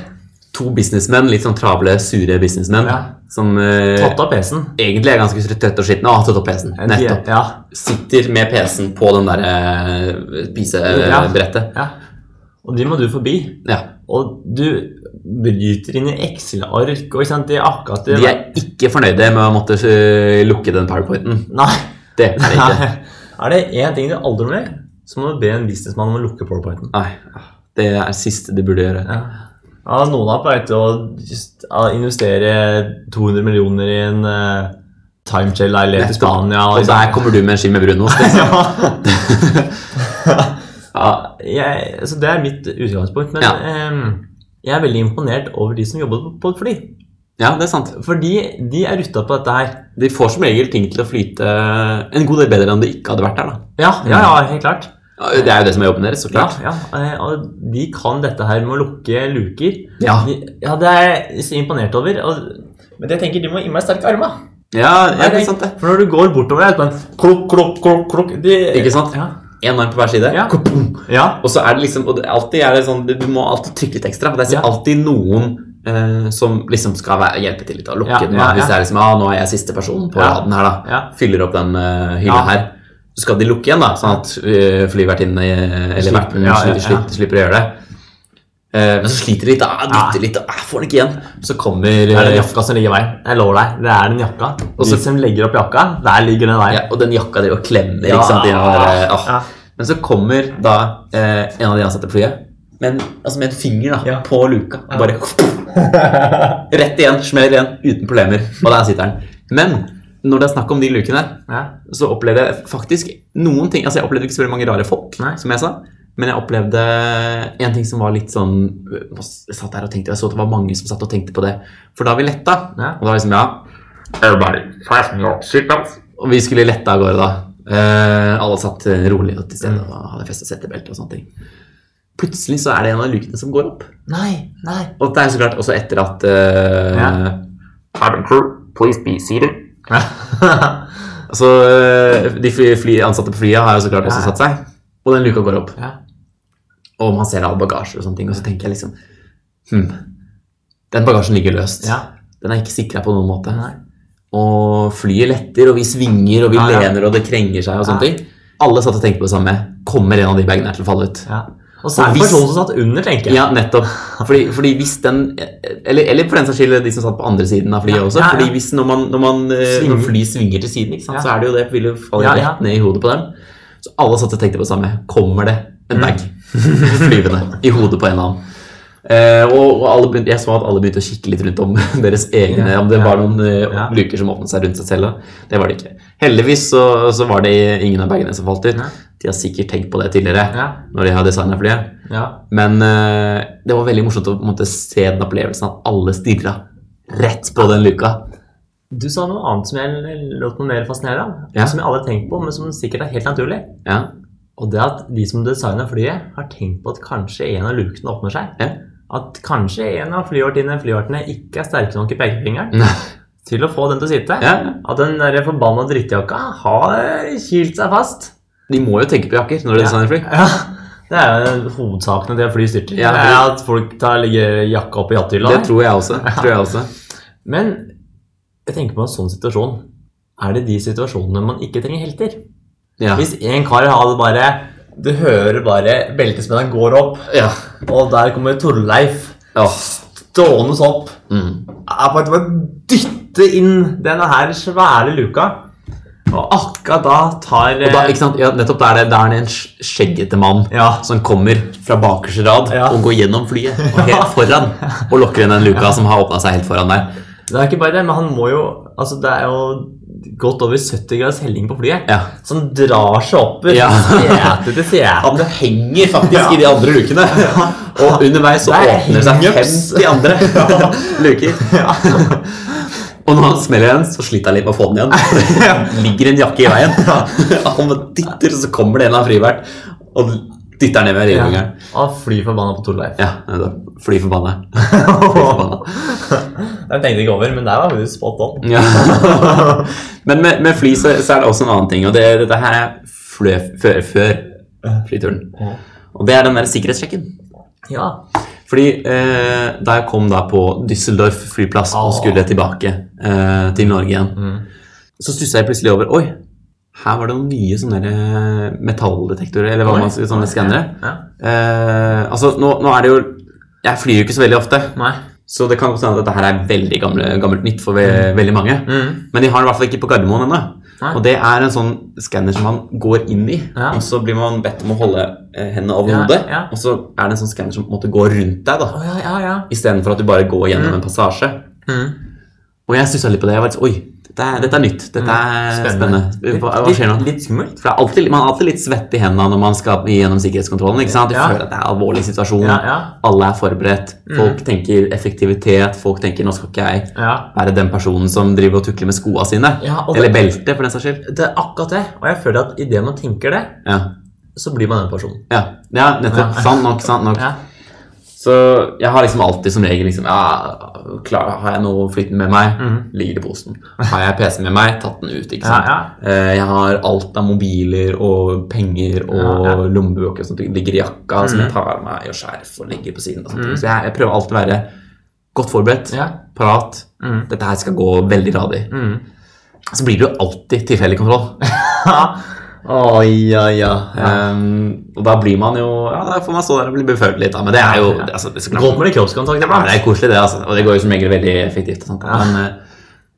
[SPEAKER 1] to businessmenn, litt sånn travle, sure businessmenn,
[SPEAKER 2] Ja.
[SPEAKER 1] som eh,
[SPEAKER 2] Tatt av PC-en.
[SPEAKER 1] egentlig er ganske trøtte og skitne og har tatt opp PC-en. Nettopp.
[SPEAKER 2] Ja.
[SPEAKER 1] Sitter med PC-en på den der eh, pisebrettet.
[SPEAKER 2] ja. Og de må du forbi.
[SPEAKER 1] Ja.
[SPEAKER 2] Og du bryter inn i Excel-ark og ikke sant? De er akkurat
[SPEAKER 1] De er ikke fornøyde med å måtte eh, lukke den powerpointen.
[SPEAKER 2] Nei.
[SPEAKER 1] Det er de ikke.
[SPEAKER 2] Er det én ting du aldri må gjøre, så må du be en businessmann om å lukke powerpointen.
[SPEAKER 1] Nei, det er siste du burde gjøre.
[SPEAKER 2] Ja. Ja, noen er på vei til å just, ja, investere 200 millioner i en uh, timeshare-leilighet i
[SPEAKER 1] Nettopp.
[SPEAKER 2] Spania.
[SPEAKER 1] Og der kommer du med en ski med brunost. liksom.
[SPEAKER 2] ja, jeg, så det er mitt utgangspunkt. Men
[SPEAKER 1] Ja.
[SPEAKER 2] ehm, jeg er veldig imponert over de som jobber på et fly.
[SPEAKER 1] Ja, det er sant.
[SPEAKER 2] Fordi de er rutta på dette her.
[SPEAKER 1] De får som regel ting til å flyte eh, en god del bedre enn om de ikke hadde vært der. da.
[SPEAKER 2] Ja, ja, ja helt klart.
[SPEAKER 1] Ja, Det er jo det som er jobben deres, så
[SPEAKER 2] Mm. Ja,
[SPEAKER 1] klart.
[SPEAKER 2] ja, eh, og de kan dette her med å lukke luker.
[SPEAKER 1] Ja,
[SPEAKER 2] De, ja, det er jeg så imponert over. Og, men jeg tenker de må ha innmari sterke armer.
[SPEAKER 1] ja, ja
[SPEAKER 2] Nei,
[SPEAKER 1] det er sant, det.
[SPEAKER 2] For når du går bortover der, sånn klokk, klokk, klokk, klokk de,
[SPEAKER 1] Ikke sant?
[SPEAKER 2] Ja.
[SPEAKER 1] Én arm på hver side.
[SPEAKER 2] Ja.
[SPEAKER 1] Kopum.
[SPEAKER 2] ja.
[SPEAKER 1] Og så er det liksom, og det, alltid er det sånn, du du må alltid trykke litt ekstra. for Det er
[SPEAKER 2] Ja.
[SPEAKER 1] alltid noen eh, som liksom skal være, hjelpe til litt og lukke
[SPEAKER 2] Ja,
[SPEAKER 1] den.
[SPEAKER 2] ja,
[SPEAKER 1] da. Hvis
[SPEAKER 2] ja.
[SPEAKER 1] det er liksom, ah, nå er jeg siste person på
[SPEAKER 2] Ja.
[SPEAKER 1] raden her, da.
[SPEAKER 2] Ja.
[SPEAKER 1] Fyller opp den eh, hylla
[SPEAKER 2] Ja.
[SPEAKER 1] her. Så skal de lukke igjen, da, sånn at uh, flyvertinnene eh, eller
[SPEAKER 2] Slipper-
[SPEAKER 1] verten
[SPEAKER 2] ja, ja,
[SPEAKER 1] sli-
[SPEAKER 2] ja.
[SPEAKER 1] sli- slipper å gjøre det. Eh, men så sliter de litt, da, dytter litt, og ah, får den ikke igjen. Så kommer
[SPEAKER 2] Det er den
[SPEAKER 1] eh,
[SPEAKER 2] jakka som ligger i veien. Jeg lover deg. Det er den jakka. Og
[SPEAKER 1] så-
[SPEAKER 2] de som legger opp jakka, der ligger den i veien.
[SPEAKER 1] ja, Og den jakka driver og klemmer. Ikke sant? i den der, eh, ah.
[SPEAKER 2] Ja.
[SPEAKER 1] Men så kommer da eh, en av de ansatte på flyet med en, altså med en finger da,
[SPEAKER 2] Ja.
[SPEAKER 1] på luka. Og bare Rett igjen, smell igjen, uten problemer. Og der sitter den. Men når det er snakk om de lukene her,
[SPEAKER 2] Ja.
[SPEAKER 1] så opplevde jeg faktisk noen ting Altså, jeg opplevde ikke så veldig mange rare folk,
[SPEAKER 2] Nei.
[SPEAKER 1] som jeg sa. Men jeg opplevde en ting som var litt sånn Jeg satt der og tenkte, jeg så at det var mange som satt og tenkte på det. For da vi letta,
[SPEAKER 2] Ja.
[SPEAKER 1] og da var det liksom, ja
[SPEAKER 3] Everybody, fasten your seatbelts.
[SPEAKER 1] og vi skulle lette av gårde da. Eh, alle satt eh, rolig og til stede og hadde festa settebelte og sånne ting. Plutselig så er det en av lukene som går opp.
[SPEAKER 2] Nei, nei.
[SPEAKER 1] Og det er så klart også etter at eh,
[SPEAKER 2] Ja.
[SPEAKER 3] Cabin crew, please be seated.
[SPEAKER 1] altså, eh, De fly, fly, ansatte på flyet har jo så klart også
[SPEAKER 2] Ja.
[SPEAKER 1] satt seg. Og den luka går opp.
[SPEAKER 2] Ja.
[SPEAKER 1] Og man ser all bagasje og sånne ting. Og så tenker jeg liksom Hm. Den bagasjen ligger løst.
[SPEAKER 2] Ja.
[SPEAKER 1] Den er ikke sikra på noen måte.
[SPEAKER 2] Nei.
[SPEAKER 1] Og flyet letter, og vi svinger, og vi
[SPEAKER 2] Ja, ja.
[SPEAKER 1] lener, og det krenger seg og sånne
[SPEAKER 2] Ja.
[SPEAKER 1] ting. Alle satt og tenkte på det samme. Kommer en av de bagene her til å falle ut?
[SPEAKER 2] Ja. Og så er
[SPEAKER 1] Og
[SPEAKER 2] det
[SPEAKER 1] hvis-
[SPEAKER 2] personen som satt under, tenker jeg.
[SPEAKER 1] Ja, nettopp. Fordi, fordi hvis den eller, eller for den saks skyld de som satt på andre siden av flyet
[SPEAKER 2] Ja,
[SPEAKER 1] også.
[SPEAKER 2] ja, ja.
[SPEAKER 1] Fordi hvis når man, når man eh,
[SPEAKER 2] Svinger.
[SPEAKER 1] når fly svinger til siden, ikke sant,
[SPEAKER 2] Ja.
[SPEAKER 1] så er det jo det vil jo falle
[SPEAKER 2] Ja, ja.
[SPEAKER 1] rett ned i hodet på dem. Så alle satt og tenkte på det samme. Kommer det en bag
[SPEAKER 2] Mm.
[SPEAKER 1] flyvende i hodet på en eller annen? Eh, og og alle begynte, jeg så at alle begynte å kikke litt rundt om deres egne
[SPEAKER 2] Ja,
[SPEAKER 1] Om det
[SPEAKER 2] ja.
[SPEAKER 1] var noen eh,
[SPEAKER 2] Ja.
[SPEAKER 1] luker som åpnet seg rundt seg selv. da. Det var det ikke. Heldigvis så, så var det ingen av bagene som falt ut.
[SPEAKER 2] Nei.
[SPEAKER 1] De har sikkert tenkt på det tidligere
[SPEAKER 2] Ja.
[SPEAKER 1] når de har designa flyet.
[SPEAKER 2] Ja.
[SPEAKER 1] Men eh, det var veldig morsomt å på en måte, se den opplevelsen at alle stirra rett på den luka.
[SPEAKER 2] Du sa noe annet som jeg lot meg mer fascinere av.
[SPEAKER 1] Ja.
[SPEAKER 2] Som jeg aldri har tenkt på, men som sikkert er helt naturlig.
[SPEAKER 1] Ja,
[SPEAKER 2] Og det at de som designer flyet, har tenkt på at kanskje en av lukene åpner seg.
[SPEAKER 1] Ja.
[SPEAKER 2] At kanskje en av flyvertinnene flyvertene ikke er sterke nok i pekefingeren
[SPEAKER 1] Nei.
[SPEAKER 2] til å få den til å sitte.
[SPEAKER 1] ja.
[SPEAKER 2] At den der forbanna drittjakka har kilt seg fast.
[SPEAKER 1] De må jo tenke på jakker når de
[SPEAKER 2] Ja.
[SPEAKER 1] designer fly.
[SPEAKER 2] Ja, Det er jo hovedsakene til at fly styrter.
[SPEAKER 1] Ja,
[SPEAKER 2] det
[SPEAKER 1] det-
[SPEAKER 2] er at folk tar, legger jakka opp i jatthylla.
[SPEAKER 1] Det tror jeg også. Tror jeg også.
[SPEAKER 2] Men jeg tenker på en sånn situasjon. Er det de situasjonene man ikke trenger helter?
[SPEAKER 1] Ja.
[SPEAKER 2] Hvis en kar hadde bare Du hører bare beltesmedene går opp,
[SPEAKER 1] Ja.
[SPEAKER 2] og der kommer Torleif
[SPEAKER 1] Åh.
[SPEAKER 2] stående opp.
[SPEAKER 1] Mm.
[SPEAKER 2] er på en måte dytte inn denne her svære luka. Og akkurat da tar
[SPEAKER 1] Og da,
[SPEAKER 2] eh,
[SPEAKER 1] ikke sant? Ja, nettopp der er det, der er det en sk- skjeggete mann
[SPEAKER 2] ja,
[SPEAKER 1] som kommer fra bakerste rad
[SPEAKER 2] Ja.
[SPEAKER 1] og går gjennom flyet og helt foran og lokker inn den luka som har åpna seg helt foran der.
[SPEAKER 2] Det er ikke bare det, men han må jo Altså, det er jo godt over 70 grads helling på flyet.
[SPEAKER 1] Ja.
[SPEAKER 2] Så han drar seg opp
[SPEAKER 1] Ja.
[SPEAKER 2] sete til sete.
[SPEAKER 1] Han henger faktisk
[SPEAKER 2] Ja.
[SPEAKER 1] i de andre lukene. Og underveis så
[SPEAKER 2] Der er
[SPEAKER 1] åpner det seg
[SPEAKER 2] hangups.
[SPEAKER 1] 50 andre luker. Og når han smeller igjen, så sliter han litt med å få den igjen. Det ligger en jakke i veien. Han bare dytter, og så kommer det en eller annen frivert og dytter ned med
[SPEAKER 2] Ja.
[SPEAKER 1] rivjungelen.
[SPEAKER 2] Og flyr forbanna på Torleif.
[SPEAKER 1] Ja, da fly forbanna.
[SPEAKER 2] Den tenkte jeg ikke over, men der var hun spot on.
[SPEAKER 1] Ja. Men med, med fly så, så er det også en annen ting, og det, dette her er flø, før, før flyturen. Og det er den der sikkerhetssjekken.
[SPEAKER 2] Ja.
[SPEAKER 1] Fordi eh, da jeg kom da på Düsseldorf flyplass og
[SPEAKER 2] Ah. Mm.
[SPEAKER 1] skulle tilbake eh, til Norge igjen, så stussa jeg plutselig over Oi, her var det noen nye sånne der, eh, metalldetektorer, eller hva
[SPEAKER 2] Oi.
[SPEAKER 1] man sier, sånne skannere.
[SPEAKER 2] ja.
[SPEAKER 1] Eh, altså, nå, nå er det jo Jeg flyr jo ikke så veldig ofte,
[SPEAKER 2] Nei.
[SPEAKER 1] så det kan godt hende at dette her er veldig gamle, gammelt nytt for ve veldig mange.
[SPEAKER 2] Mm.
[SPEAKER 1] Men de har det i hvert fall ikke på Gardermoen ennå.
[SPEAKER 2] Nei.
[SPEAKER 1] Og det er en sånn skanner som man går inn i,
[SPEAKER 2] Ja.
[SPEAKER 1] og så blir man bedt om å holde eh, hendene over
[SPEAKER 2] Ja,
[SPEAKER 1] hodet.
[SPEAKER 2] ja.
[SPEAKER 1] Og så er det en sånn skanner som på en måte går rundt deg, da.
[SPEAKER 2] Å, ja, ja, ja.
[SPEAKER 1] Istedenfor at du bare går gjennom
[SPEAKER 2] Mm.
[SPEAKER 1] en passasje. Mm. Og jeg stussa litt på det. Jeg var litt, sånn, Oi, dette er, dette er nytt. Dette er spennende. Hva, hva skjer nå?
[SPEAKER 2] Mm. Litt, litt skummelt.
[SPEAKER 1] For det er alltid, Man er alltid litt svett i hendene når man skal gjennom sikkerhetskontrollen. ikke sant? Du
[SPEAKER 2] Ja.
[SPEAKER 1] føler at det er en alvorlig situasjon.
[SPEAKER 2] Ja, Mm. ja.
[SPEAKER 1] Alle er forberedt. Folk tenker effektivitet. Folk tenker 'nå skal ikke jeg
[SPEAKER 2] Ja.
[SPEAKER 1] være den personen som driver og tukler med skoa sine'.
[SPEAKER 2] Ja, og det-
[SPEAKER 1] Eller beltet, for den saks skyld.
[SPEAKER 2] Det er akkurat det. Og jeg føler at idet man tenker det,
[SPEAKER 1] Ja,
[SPEAKER 2] så blir man den personen.
[SPEAKER 1] ja. ja nettopp.
[SPEAKER 2] Ja.
[SPEAKER 1] Sant nok. sant nok.
[SPEAKER 2] Ja.
[SPEAKER 1] Så jeg har liksom alltid som regel liksom, ja, klar, Har jeg noe flytende med meg, ligger det i posen. Har jeg PC med meg, tatt den ut. ikke sant?
[SPEAKER 2] Mhm. Ja,
[SPEAKER 1] Eh, Jeg har alt av mobiler og penger og
[SPEAKER 2] Ja, Mhm. ja.
[SPEAKER 1] lommebøker og sånt. Det ligger i jakka som jeg tar av meg, og skjerf og legger på siden. og sånt. Så jeg, jeg prøver alltid å være godt forberedt,
[SPEAKER 2] Mhm. Ja.
[SPEAKER 1] parat.
[SPEAKER 2] Mhm.
[SPEAKER 1] Dette her skal gå veldig radig.
[SPEAKER 2] Mm.
[SPEAKER 1] Så blir det jo alltid tilfeldig kontroll.
[SPEAKER 2] Oi, ja, ja.
[SPEAKER 1] Um, og da blir man jo Ja, da får man stå der og bli befølt litt, da. Men det er jo
[SPEAKER 2] Ja, ja.
[SPEAKER 1] det- Altså, det er så klart.
[SPEAKER 2] Godt med litt kroppskontakt
[SPEAKER 1] Ja,
[SPEAKER 2] iblant.
[SPEAKER 1] det er koselig, det. altså. Og det går jo som regel veldig effektivt. og sånt.
[SPEAKER 2] Ja.
[SPEAKER 1] Men eh,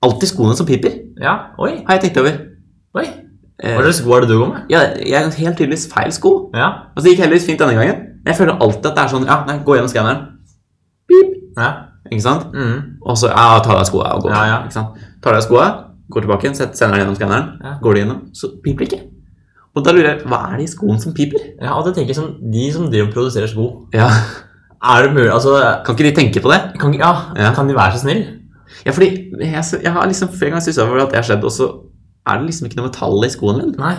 [SPEAKER 1] alltid skoene som piper,
[SPEAKER 2] Ja. Oi.
[SPEAKER 1] har jeg tenkt over.
[SPEAKER 2] Oi.
[SPEAKER 1] Eh,
[SPEAKER 2] Hva slags sko er det du går med?
[SPEAKER 1] ja, jeg har helt tydeligvis feil sko.
[SPEAKER 2] Ja.
[SPEAKER 1] Og så gikk heldigvis fint denne gangen. Men jeg føler alltid at det er sånn Ja, nei, gå gjennom skanneren. Pip.
[SPEAKER 2] Ja.
[SPEAKER 1] Ikke sant?
[SPEAKER 2] Mm.
[SPEAKER 1] Og så ja, ta av deg skoa og gå.
[SPEAKER 2] Ja, ja.
[SPEAKER 1] Ikke sant? Tar av deg skoa, går tilbake, setter sender den gjennom skanneren,
[SPEAKER 2] Ja.
[SPEAKER 1] går du gjennom, så piper det ikke. Og da lurer jeg Hva er det i skoen som piper?
[SPEAKER 2] ja, og det tenker jeg sånn De som driver og produserer sko,
[SPEAKER 1] Ja,
[SPEAKER 2] er det mulig Altså
[SPEAKER 1] Kan ikke de tenke på det?
[SPEAKER 2] kan, ja,
[SPEAKER 1] Ja.
[SPEAKER 2] kan de være så snill?
[SPEAKER 1] Ja, fordi jeg, jeg har liksom flere ganger stussa over at det har skjedd, og så er det liksom ikke noe metall i skoen min.
[SPEAKER 2] Nei.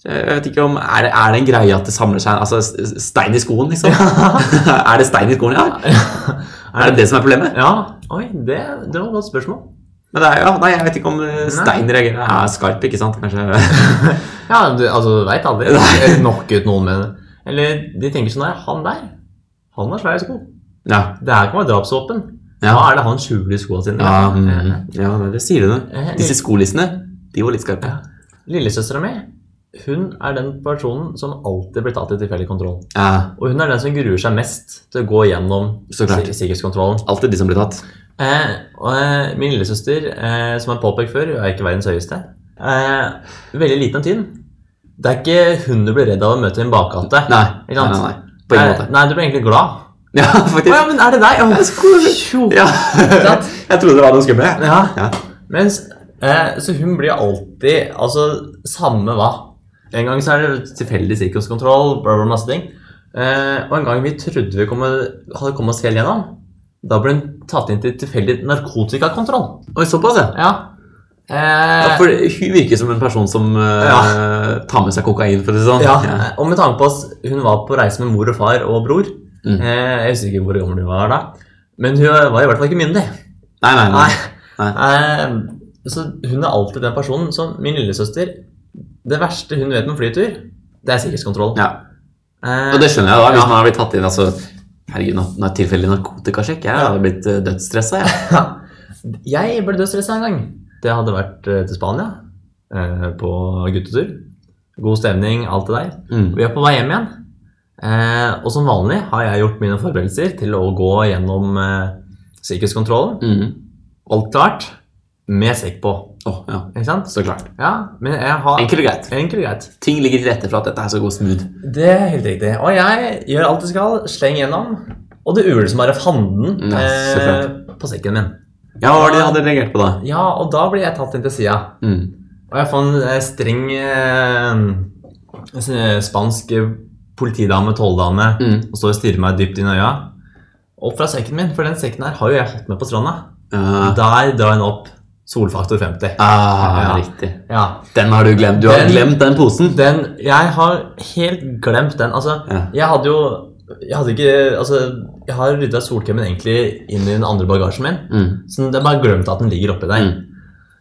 [SPEAKER 1] Så Jeg vet ikke om, er det, er det en greie at det samler seg altså, s- s- stein i skoen, liksom? er det stein i skoen, ja? Er det det som er problemet?
[SPEAKER 2] Ja. Oi, det, det var et godt spørsmål.
[SPEAKER 1] Men det er, ja, nei, jeg vet ikke om eh, stein reagerer. Jeg er skarp, ikke sant? Kanskje.
[SPEAKER 2] Ja, du, altså, du veit aldri. Eller Knocke ut noen med det. Eller de tenker sånn der Han der, han har svære sko.
[SPEAKER 1] Ja.
[SPEAKER 2] Det her kan være drapsvåpen.
[SPEAKER 1] Ja.
[SPEAKER 2] Hva er det han skjuler i skoa sine? Eh,
[SPEAKER 1] Ja, mm, ja, nei, det sier du nå. Disse skolissene, de var litt skarpe.
[SPEAKER 2] Lillesøstera mi hun er den personen som alltid blir tatt i tilfeldig kontroll.
[SPEAKER 1] Ja,
[SPEAKER 2] Og hun er den som gruer seg mest til å gå gjennom
[SPEAKER 1] Så klart.
[SPEAKER 2] sik- sikkerhetskontrollen.
[SPEAKER 1] alltid de som ble tatt.
[SPEAKER 2] Eh, og eh, min lillesøster, eh, som er påpekt før, hun er ikke verdens høyeste, eh, veldig liten og tynn. Det er ikke hun du blir redd av å møte i en bakgate.
[SPEAKER 1] Nei,
[SPEAKER 2] Ikke
[SPEAKER 1] nei,
[SPEAKER 2] sant?
[SPEAKER 1] nei, nei. På ingen måte.
[SPEAKER 2] Nei, nei, du blir egentlig glad.
[SPEAKER 1] Ja,
[SPEAKER 2] Å ja,
[SPEAKER 1] faktisk.
[SPEAKER 2] men er det deg? Å, tjo.
[SPEAKER 1] Ja.
[SPEAKER 2] sant?
[SPEAKER 1] Jeg trodde det var noe skummelt. jeg.
[SPEAKER 2] Ja.
[SPEAKER 1] Ja.
[SPEAKER 2] Mens, eh, så hun blir alltid Altså, samme hva. En gang så er det tilfeldig sikkerhetskontroll, bla, bla, masse ting. Eh, og en gang vi trodde vi kom, hadde kommet oss helt gjennom, da ble hun tatt inn til tilfeldig narkotikakontroll.
[SPEAKER 1] Oi, såpass, ja.
[SPEAKER 2] Ja. Eh,
[SPEAKER 1] Ja, for hun virker som en person som eh, tar med seg kokain, for å si det sånn.
[SPEAKER 2] ja, Og med tanke på at hun var på reise med mor og far og bror
[SPEAKER 1] Mm.
[SPEAKER 2] eh, Jeg husker ikke hvor gammel hun var da, men hun var i hvert fall ikke myndig.
[SPEAKER 1] Nei, nei, nei.
[SPEAKER 2] Nei.
[SPEAKER 1] Nei.
[SPEAKER 2] Eh, så hun er alltid den personen som min lillesøster Det verste hun vet med flytur, det er sikkerhetskontroll.
[SPEAKER 1] Ja.
[SPEAKER 2] Eh,
[SPEAKER 1] Og det skjønner jeg da, hvis man har blitt tatt inn, altså Herregud, nå- nå er det tilfeldig narkotikasjekk. Jeg hadde blitt eh, dødsstressa, jeg.
[SPEAKER 2] jeg ble dødsstressa en gang. Det hadde vært eh, til Spania, eh, på guttetur. God stemning, alt det der.
[SPEAKER 1] Mm.
[SPEAKER 2] Vi er på vei hjem igjen. Eh, og som vanlig har jeg gjort mine forberedelser til å gå gjennom eh, sikkerhetskontrollen.
[SPEAKER 1] Mm.
[SPEAKER 2] Alt klart, med sekk på.
[SPEAKER 1] Åh, ja.
[SPEAKER 2] Ikke sant?
[SPEAKER 1] Så klart.
[SPEAKER 2] Ja, men jeg har
[SPEAKER 1] Enkelt og greit.
[SPEAKER 2] Enkelt og greit.
[SPEAKER 1] Ting ligger til rette for at dette her skal gå smooth.
[SPEAKER 2] Det er helt riktig. Og jeg gjør alt jeg skal, sleng gjennom. Og det uler som bare fanden
[SPEAKER 1] Ja, så
[SPEAKER 2] eh, på sekken min.
[SPEAKER 1] Ja, hva var det de hadde reagert på da?
[SPEAKER 2] Ja, og da blir jeg tatt inn til sida.
[SPEAKER 1] Mm.
[SPEAKER 2] Og jeg får en eh, streng eh, s- eh, spansk eh, politidame, tolldame,
[SPEAKER 1] Mm.
[SPEAKER 2] og står og stirrer meg dypt inn i øya. Opp fra sekken min, for den sekken her har jo jeg hatt med på stranda.
[SPEAKER 1] Ah,
[SPEAKER 2] Der drar jeg den opp. Solfaktor 50.
[SPEAKER 1] ah,
[SPEAKER 2] Ja.
[SPEAKER 1] Riktig.
[SPEAKER 2] Ja.
[SPEAKER 1] Den har du glemt. Du har
[SPEAKER 2] Den-
[SPEAKER 1] glemt den posen.
[SPEAKER 2] Den Jeg har helt glemt den. Altså,
[SPEAKER 1] Ja.
[SPEAKER 2] jeg hadde jo Jeg hadde ikke Altså, jeg har rydda solkremen egentlig inn i den andre bagasjen min.
[SPEAKER 1] Mm.
[SPEAKER 2] Så jeg har bare glemt at den ligger oppi der.
[SPEAKER 1] Mm.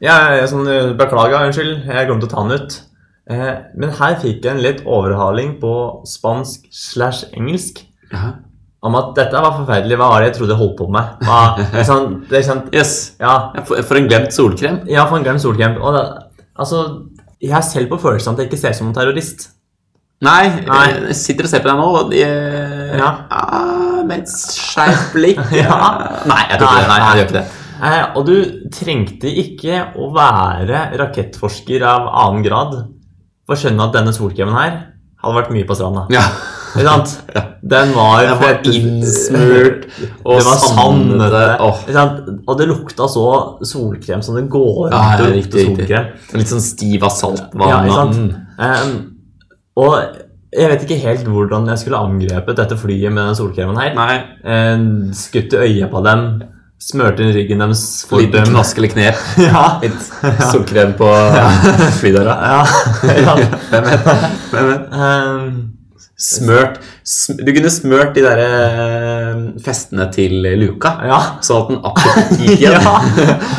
[SPEAKER 2] Jeg, jeg sånn, eh, Beklager, unnskyld. Jeg glemte å ta den ut. Eh, men her fikk jeg en litt overhaling på spansk slash engelsk
[SPEAKER 1] Ja.
[SPEAKER 2] om at dette var forferdelig. Hva var det jeg trodde jeg holdt på med? Hva, ikke sant? Det er sant?
[SPEAKER 1] Yes.
[SPEAKER 2] Ja,
[SPEAKER 1] Ja, For, for en glemt solkrem.
[SPEAKER 2] jeg har fått en glemt solkrem. Og det, altså, jeg er selv på følelsen at jeg ikke ser ut som en terrorist.
[SPEAKER 1] Nei,
[SPEAKER 2] Nei.
[SPEAKER 1] jeg sitter og ser på deg nå, og de eh,
[SPEAKER 2] Ja.
[SPEAKER 1] ah, Med et skjevt blikk.
[SPEAKER 2] Ja.
[SPEAKER 1] Nei, jeg tror ikke det. Nei, jeg gjør ikke det.
[SPEAKER 2] Eh, og du trengte ikke å være rakettforsker av annen grad for å skjønne at denne solkremen her hadde vært mye på stranda.
[SPEAKER 1] Ja.
[SPEAKER 2] Ikke sant? Den var,
[SPEAKER 1] Den var innsmurt og
[SPEAKER 2] Det var sandete.
[SPEAKER 1] sandete. Åh.
[SPEAKER 2] Ikke sant? Og det lukta så solkrem som det går an
[SPEAKER 1] Ja, ja,
[SPEAKER 2] å
[SPEAKER 1] riktig,
[SPEAKER 2] lukte
[SPEAKER 1] riktig.
[SPEAKER 2] solkrem.
[SPEAKER 1] Litt sånn stiv av saltvann.
[SPEAKER 2] Ja, ikke sant?
[SPEAKER 1] Mm.
[SPEAKER 2] Ehm, og jeg vet ikke helt hvordan jeg skulle angrepet dette flyet med den solkremen her.
[SPEAKER 1] Nei,
[SPEAKER 2] Ehm, skutt i øyet på dem, smørte inn ryggen deres for
[SPEAKER 1] liten
[SPEAKER 2] dem.
[SPEAKER 1] knask eller knep.
[SPEAKER 2] Ja,
[SPEAKER 1] Litt solkrem på flydøra.
[SPEAKER 2] ja, ja.
[SPEAKER 1] Hvem vet? Hvem vet?
[SPEAKER 2] Ehm,
[SPEAKER 1] Smørt sm Du kunne smørt de der eh, festene til Luka,
[SPEAKER 2] ja.
[SPEAKER 1] sånn at den absolutt gikk
[SPEAKER 2] ja.
[SPEAKER 1] igjen.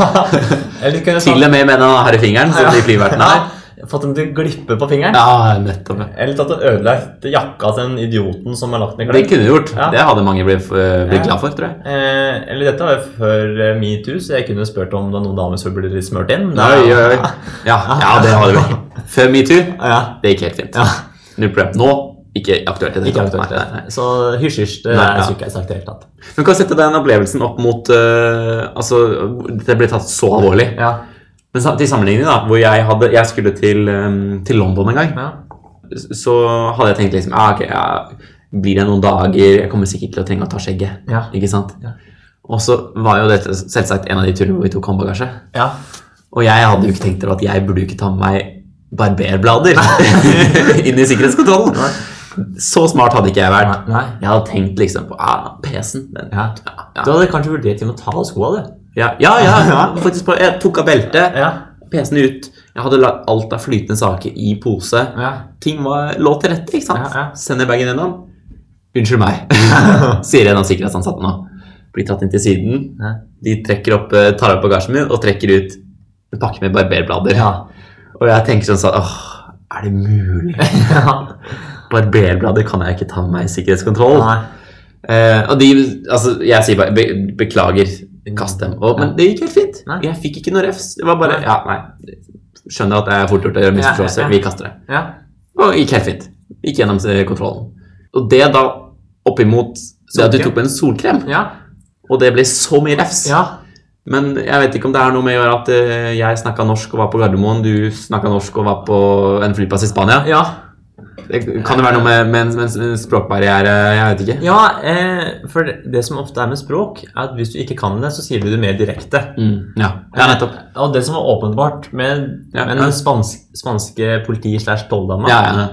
[SPEAKER 2] Eller kunne jeg
[SPEAKER 1] Til og med med den herrefingeren, som
[SPEAKER 2] Ja.
[SPEAKER 1] de flyvertene har.
[SPEAKER 2] Ja, Fått dem til å glippe på fingeren.
[SPEAKER 1] Ja, nettopp. ja.
[SPEAKER 2] Eller tatt og ødelagt jakka til den idioten som har lagt ned
[SPEAKER 1] Det
[SPEAKER 2] klær.
[SPEAKER 1] kunne du gjort.
[SPEAKER 2] Ja.
[SPEAKER 1] Det hadde mange blitt, eh, blitt
[SPEAKER 2] Ja.
[SPEAKER 1] glad for, tror jeg.
[SPEAKER 2] Eh, eller dette var jo før eh, metoo, så jeg kunne spurt om det var noen damer som ble litt smurt inn.
[SPEAKER 1] Oi, oi, oi. Ja, ja, det hadde du vært. Før metoo,
[SPEAKER 2] Ja,
[SPEAKER 1] det gikk helt fint.
[SPEAKER 2] Ja.
[SPEAKER 1] Null problem. Nå, ikke aktuelt i det
[SPEAKER 2] ikke
[SPEAKER 1] hele tatt.
[SPEAKER 2] aktuelt.
[SPEAKER 1] Nei, nei, nei.
[SPEAKER 2] Så hysj, hysj. Det
[SPEAKER 1] Nei,
[SPEAKER 2] er
[SPEAKER 1] ja.
[SPEAKER 2] ikke jeg sagt i det hele tatt.
[SPEAKER 1] Men kan sette den opplevelsen opp mot eh, Altså, det ble tatt så alvorlig.
[SPEAKER 2] Ja.
[SPEAKER 1] Men sam- til sammenligning, da, hvor jeg, hadde, jeg skulle til, eh, til London en gang,
[SPEAKER 2] Ja.
[SPEAKER 1] så hadde jeg tenkt liksom ah, ok, ja, Blir det noen dager? Jeg kommer sikkert til å trenge å ta skjegget.
[SPEAKER 2] Ja.
[SPEAKER 1] Ikke sant?
[SPEAKER 2] Ja.
[SPEAKER 1] Og så var jo dette selvsagt en av de turene hvor vi tok håndbagasje.
[SPEAKER 2] ja.
[SPEAKER 1] Og jeg hadde jo ikke tenkt til at jeg burde jo ikke ta med meg barberblader inn i sikkerhetskontrollen. Så smart hadde ikke jeg
[SPEAKER 2] Nei.
[SPEAKER 1] vært.
[SPEAKER 2] Nei.
[SPEAKER 1] Jeg hadde tenkt liksom på ah, PC-en. den-
[SPEAKER 2] Ja.
[SPEAKER 1] ja.
[SPEAKER 2] Du hadde kanskje vurdert til og med å ta av skoa, du.
[SPEAKER 1] Ja, ja, ja, faktisk på, jeg tok av beltet,
[SPEAKER 2] Ja.
[SPEAKER 1] PC-en ut. Jeg hadde lagt alt av flytende saker i pose.
[SPEAKER 2] Ja.
[SPEAKER 1] Ting var, lå til rette, ikke sant?
[SPEAKER 2] Ja, ja.
[SPEAKER 1] Sender bagen gjennom. Unnskyld meg, sier en av sikkerhetsansatte nå. Blir tatt inn til Syden.
[SPEAKER 2] Ja.
[SPEAKER 1] De trekker opp, eh, tar opp bagasjen min og trekker ut en pakke med barberblader.
[SPEAKER 2] ja.
[SPEAKER 1] Og jeg tenker sånn sånn, åh, er det mulig? Barberblader kan jeg ikke ta med meg i sikkerhetskontroll.
[SPEAKER 2] Nei.
[SPEAKER 1] Eh, og de, altså, jeg sier bare be, beklager, kast dem. Og, men det gikk helt fint.
[SPEAKER 2] Nei.
[SPEAKER 1] Jeg fikk ikke noe refs. Det var bare
[SPEAKER 2] Nei.
[SPEAKER 1] ja, nei. Skjønner at det er fort gjort å gjøre misforståelser.
[SPEAKER 2] Ja, ja, ja.
[SPEAKER 1] Vi kaster det.
[SPEAKER 2] Ja.
[SPEAKER 1] Og gikk helt fint. Gikk gjennom eh, kontrollen. Og det da oppimot det at du
[SPEAKER 2] Solkrem.
[SPEAKER 1] tok med en solkrem,
[SPEAKER 2] Ja.
[SPEAKER 1] og det ble så mye refs.
[SPEAKER 2] Ja.
[SPEAKER 1] Men jeg vet ikke om det er noe med å gjøre at eh, jeg snakka norsk og var på Gardermoen, du snakka norsk og var på en flyplass i Spania.
[SPEAKER 2] ja.
[SPEAKER 1] Det, kan det være noe med, med, en- med en språkbarriere? Jeg vet ikke.
[SPEAKER 2] ja eh, for det, det som ofte er med språk, er at hvis du ikke kan det, så sier du det mer direkte.
[SPEAKER 1] Mm, ja. ja, nettopp.
[SPEAKER 2] Og det som var åpenbart med,
[SPEAKER 1] Ja,
[SPEAKER 2] med
[SPEAKER 1] ja.
[SPEAKER 2] den spansk, spanske politi slash tolldama,
[SPEAKER 1] Ja, ja.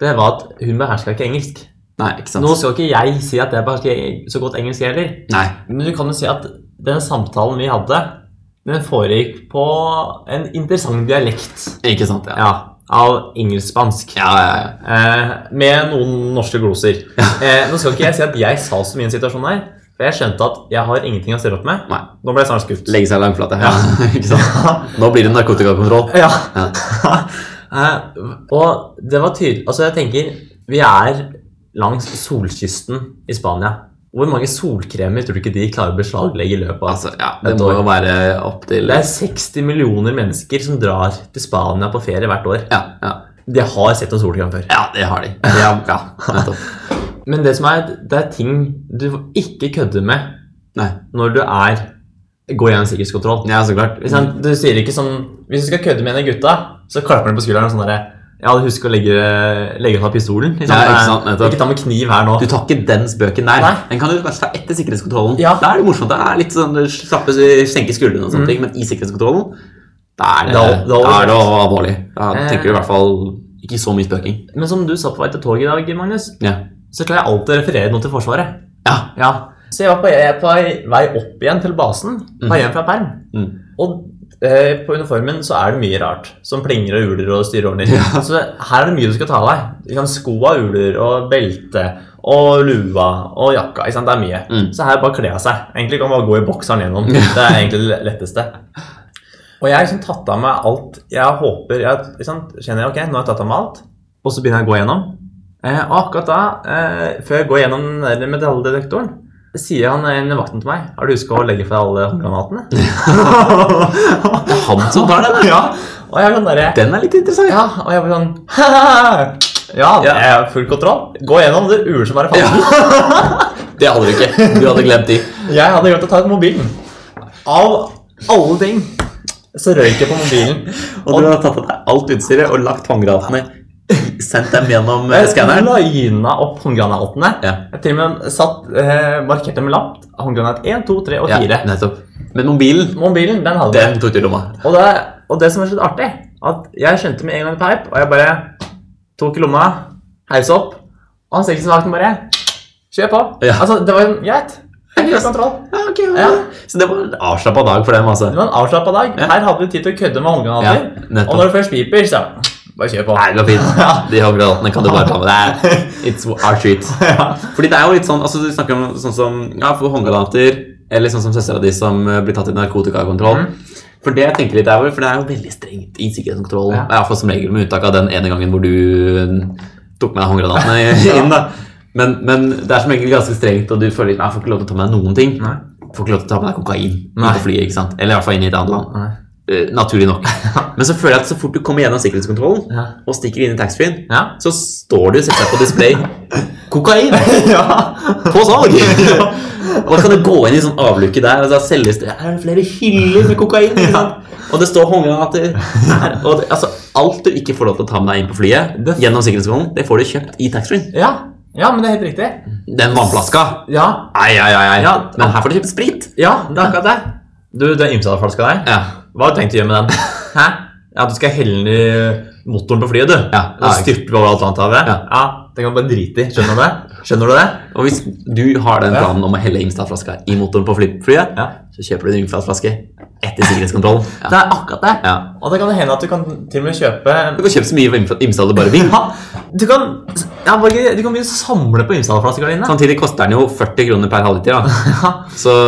[SPEAKER 2] det var at hun beherska ikke engelsk.
[SPEAKER 1] Nei, ikke sant.
[SPEAKER 2] Nå skal ikke jeg si at jeg behersker så godt engelsk heller,
[SPEAKER 1] Nei.
[SPEAKER 2] men du kan jo si at den samtalen vi hadde, den foregikk på en interessant dialekt
[SPEAKER 1] Ikke sant, ja.
[SPEAKER 2] ja, av engelsk-spansk.
[SPEAKER 1] Ja, ja, ja.
[SPEAKER 2] Eh, med noen norske gloser. Eh, nå skal ikke jeg si at jeg sa så mye i en situasjon her, for jeg skjønte at jeg har ingenting å stille opp med.
[SPEAKER 1] Nei.
[SPEAKER 2] Nå ble jeg snart skutt.
[SPEAKER 1] Legge seg langflat, ja. ikke sant? Nå blir det narkotikakontroll.
[SPEAKER 2] Ja.
[SPEAKER 1] Ja.
[SPEAKER 2] Eh, og det var tydelig Altså, jeg tenker Vi er langs solkysten i Spania. Hvor mange solkremer tror du ikke de klarer å beslaglegge i løpet av
[SPEAKER 1] Altså, ja, det må jo være opp til
[SPEAKER 2] Det er 60 millioner mennesker som drar til Spania på ferie hvert år.
[SPEAKER 1] Ja, ja.
[SPEAKER 2] De har sett en solkrem før.
[SPEAKER 1] ja det har de. Ja, ja nettopp.
[SPEAKER 2] Men det som er, det er ting du ikke kødder med
[SPEAKER 1] Nei.
[SPEAKER 2] når du er går gjennom sikkerhetskontroll.
[SPEAKER 1] Ja, så klart.
[SPEAKER 2] Ikke sant? Du sier ikke sånn Hvis du skal kødde med en av gutta, så klapper han på skulderen og sånn derre Ja, du husker å legge, legge fra pistolen. Ikke
[SPEAKER 1] Ja, ikke sant, nettopp.
[SPEAKER 2] Ikke ta med kniv her nå.
[SPEAKER 1] Du tar ikke den spøken der.
[SPEAKER 2] Nei.
[SPEAKER 1] Den kan du kanskje ta etter sikkerhetskontrollen.
[SPEAKER 2] Ja.
[SPEAKER 1] Da er det morsomt. Da er det litt sånn slappe, senke skuldrene og sånne ting, men i sikkerhetskontrollen, da er det, Mm. da,
[SPEAKER 2] Da- da-
[SPEAKER 1] er det alvorlig. Da
[SPEAKER 2] Eh.
[SPEAKER 1] tenker du i hvert fall ikke så mye spøking.
[SPEAKER 2] Men som du sa på vei til toget i dag, Magnus,
[SPEAKER 1] Ja.
[SPEAKER 2] så klarer jeg alltid å referere noe til Forsvaret.
[SPEAKER 1] Ja.
[SPEAKER 2] Ja. Så jeg var på, jeg er på vei opp igjen til basen, på vei hjem fra perm.
[SPEAKER 1] Mm.
[SPEAKER 2] Og eh, på uniformen så er det mye rart, som plinger og uler og styreordner. Så her er det mye du skal ta av deg. Du kan sko av uler og belte og lua og jakka. ikke sant? Det er mye.
[SPEAKER 1] Mm.
[SPEAKER 2] Så her bare kle av seg. Egentlig kan man bare gå i bokseren gjennom. Det er egentlig det letteste. Og jeg har liksom tatt av meg alt jeg håper jeg, ikke sant? Kjenner jeg ok, nå har jeg tatt av meg alt. Og så begynner jeg å gå gjennom. Eh, og akkurat da, eh, før jeg går gjennom den der metalldetektoren, sier han en i vakten til meg Har du huska å legge fra alle håndgranatene?
[SPEAKER 1] Det er han som tar den, da.
[SPEAKER 2] ja. Og jeg er sånn derre
[SPEAKER 1] Den er litt interessant.
[SPEAKER 2] Ja, og jeg blir sånn Ja, det er full kontroll. Gå gjennom, det uler som bare faen.
[SPEAKER 1] Det hadde du ikke. Du hadde glemt de.
[SPEAKER 2] Jeg hadde glemt å ta ut mobilen. Av alle ting så røyk jeg på mobilen.
[SPEAKER 1] Og du har tatt av deg alt utstyret og lagt håndgranatene, sendt dem gjennom eh, skanneren.
[SPEAKER 2] Lina opp håndgranatene.
[SPEAKER 1] Ja.
[SPEAKER 2] Jeg til og med satt, eh, markerte med lapp. Håndgranat 1, 2, 3 og 4.
[SPEAKER 1] Ja, nettopp. Men mobilen,
[SPEAKER 2] Mobilen, den hadde jeg.
[SPEAKER 1] den tok du i lomma.
[SPEAKER 2] Og det, og det som er så litt artig, at jeg skjønte med en gang det peip, og jeg bare tok i lomma, heis opp, og han sikkerhetsvakten bare Kjør på.
[SPEAKER 1] Ja.
[SPEAKER 2] Altså, det var jo greit. Helt kontroll.
[SPEAKER 1] Ja, ok, ja.
[SPEAKER 2] Ja.
[SPEAKER 1] Så det var en avslappa dag for dem, altså.
[SPEAKER 2] Det var en avslappa dag.
[SPEAKER 1] Ja.
[SPEAKER 2] Her hadde du tid til å kødde med
[SPEAKER 1] Ja,
[SPEAKER 2] håndgranater. og
[SPEAKER 1] nettopp.
[SPEAKER 2] når det først piper, så bare kjør på.
[SPEAKER 1] Nei, det går fint. De håndgranatene kan du bare ta med deg. It's our treat. Fordi det er jo litt sånn, altså du snakker om sånn som ja, for håndgranater, eller sånn som søstera di som eh, blir tatt i narkotikakontroll. For det jeg tenker litt er, vel- for det er jo veldig strengt i sikkerhetskontrollen.
[SPEAKER 2] Mm. Ja.
[SPEAKER 1] I hvert fall som regel, med unntak av den ene gangen hvor du eh, tok med deg håndgranatene inn. da. Men, men det er som regel ganske strengt, og du føler ikke, nei, jeg får ikke lov til å ta med deg noen ting.
[SPEAKER 2] Nei.
[SPEAKER 1] Får ikke lov til å ta med deg kokain
[SPEAKER 2] Nei.
[SPEAKER 1] på flyet, ikke sant? Eller i hvert fall inn i et annet land.
[SPEAKER 2] Nei.
[SPEAKER 1] Eh, naturlig nok. Men så føler jeg at så fort du kommer gjennom sikkerhetskontrollen
[SPEAKER 2] Ja.
[SPEAKER 1] og stikker inn i taxfree-en,
[SPEAKER 2] Ja.
[SPEAKER 1] så står det jo selvsagt på display kokain på salg! og da kan du gå inn i sånn avluke der, og så selges det her er det flere hyller med kokain. Ikke sant? Og det står håndgranater her. Og det, altså, alt du ikke får lov til å ta med deg inn på flyet,
[SPEAKER 2] Det-
[SPEAKER 1] gjennom sikkerhetskontrollen, det får du kjøpt i taxfree.
[SPEAKER 2] Ja. ja, men det er helt riktig.
[SPEAKER 1] Den vannflaska
[SPEAKER 2] Ja,
[SPEAKER 1] Ai, ai, ai, ai.
[SPEAKER 2] Ja.
[SPEAKER 1] Men her får du kjøpt sprit.
[SPEAKER 2] ja det er akkurat det. Du, den ymsa-flaska der,
[SPEAKER 1] Ja.
[SPEAKER 2] hva har du tenkt å gjøre med den? Hæ? Ja, Du skal helle den i motoren på flyet, du.
[SPEAKER 1] Ja,
[SPEAKER 2] Og
[SPEAKER 1] ja,
[SPEAKER 2] så styrter vi over Atlanterhavet.
[SPEAKER 1] Ja.
[SPEAKER 2] Ja. det kan du bare drite i. Skjønner du det? Skjønner du det?
[SPEAKER 1] Og hvis du har den planen om å helle Imstad-flaska i motoren på fly- flyet,
[SPEAKER 2] Ja.
[SPEAKER 1] så kjøper du en Imstad-flaske etter sikkerhetskontrollen.
[SPEAKER 2] Det
[SPEAKER 1] Ja.
[SPEAKER 2] er akkurat det.
[SPEAKER 1] Ja.
[SPEAKER 2] Og det kan hende at du kan til og med kjøpe
[SPEAKER 1] Du kan kjøpe så mye Imstad- Imstad du bare vil.
[SPEAKER 2] Ja, du kan ja, Borge, Du kan begynne å samle på ymsa-flasker dine.
[SPEAKER 1] Samtidig koster den jo 40 kroner per halvliter, da.
[SPEAKER 2] Ja.
[SPEAKER 1] så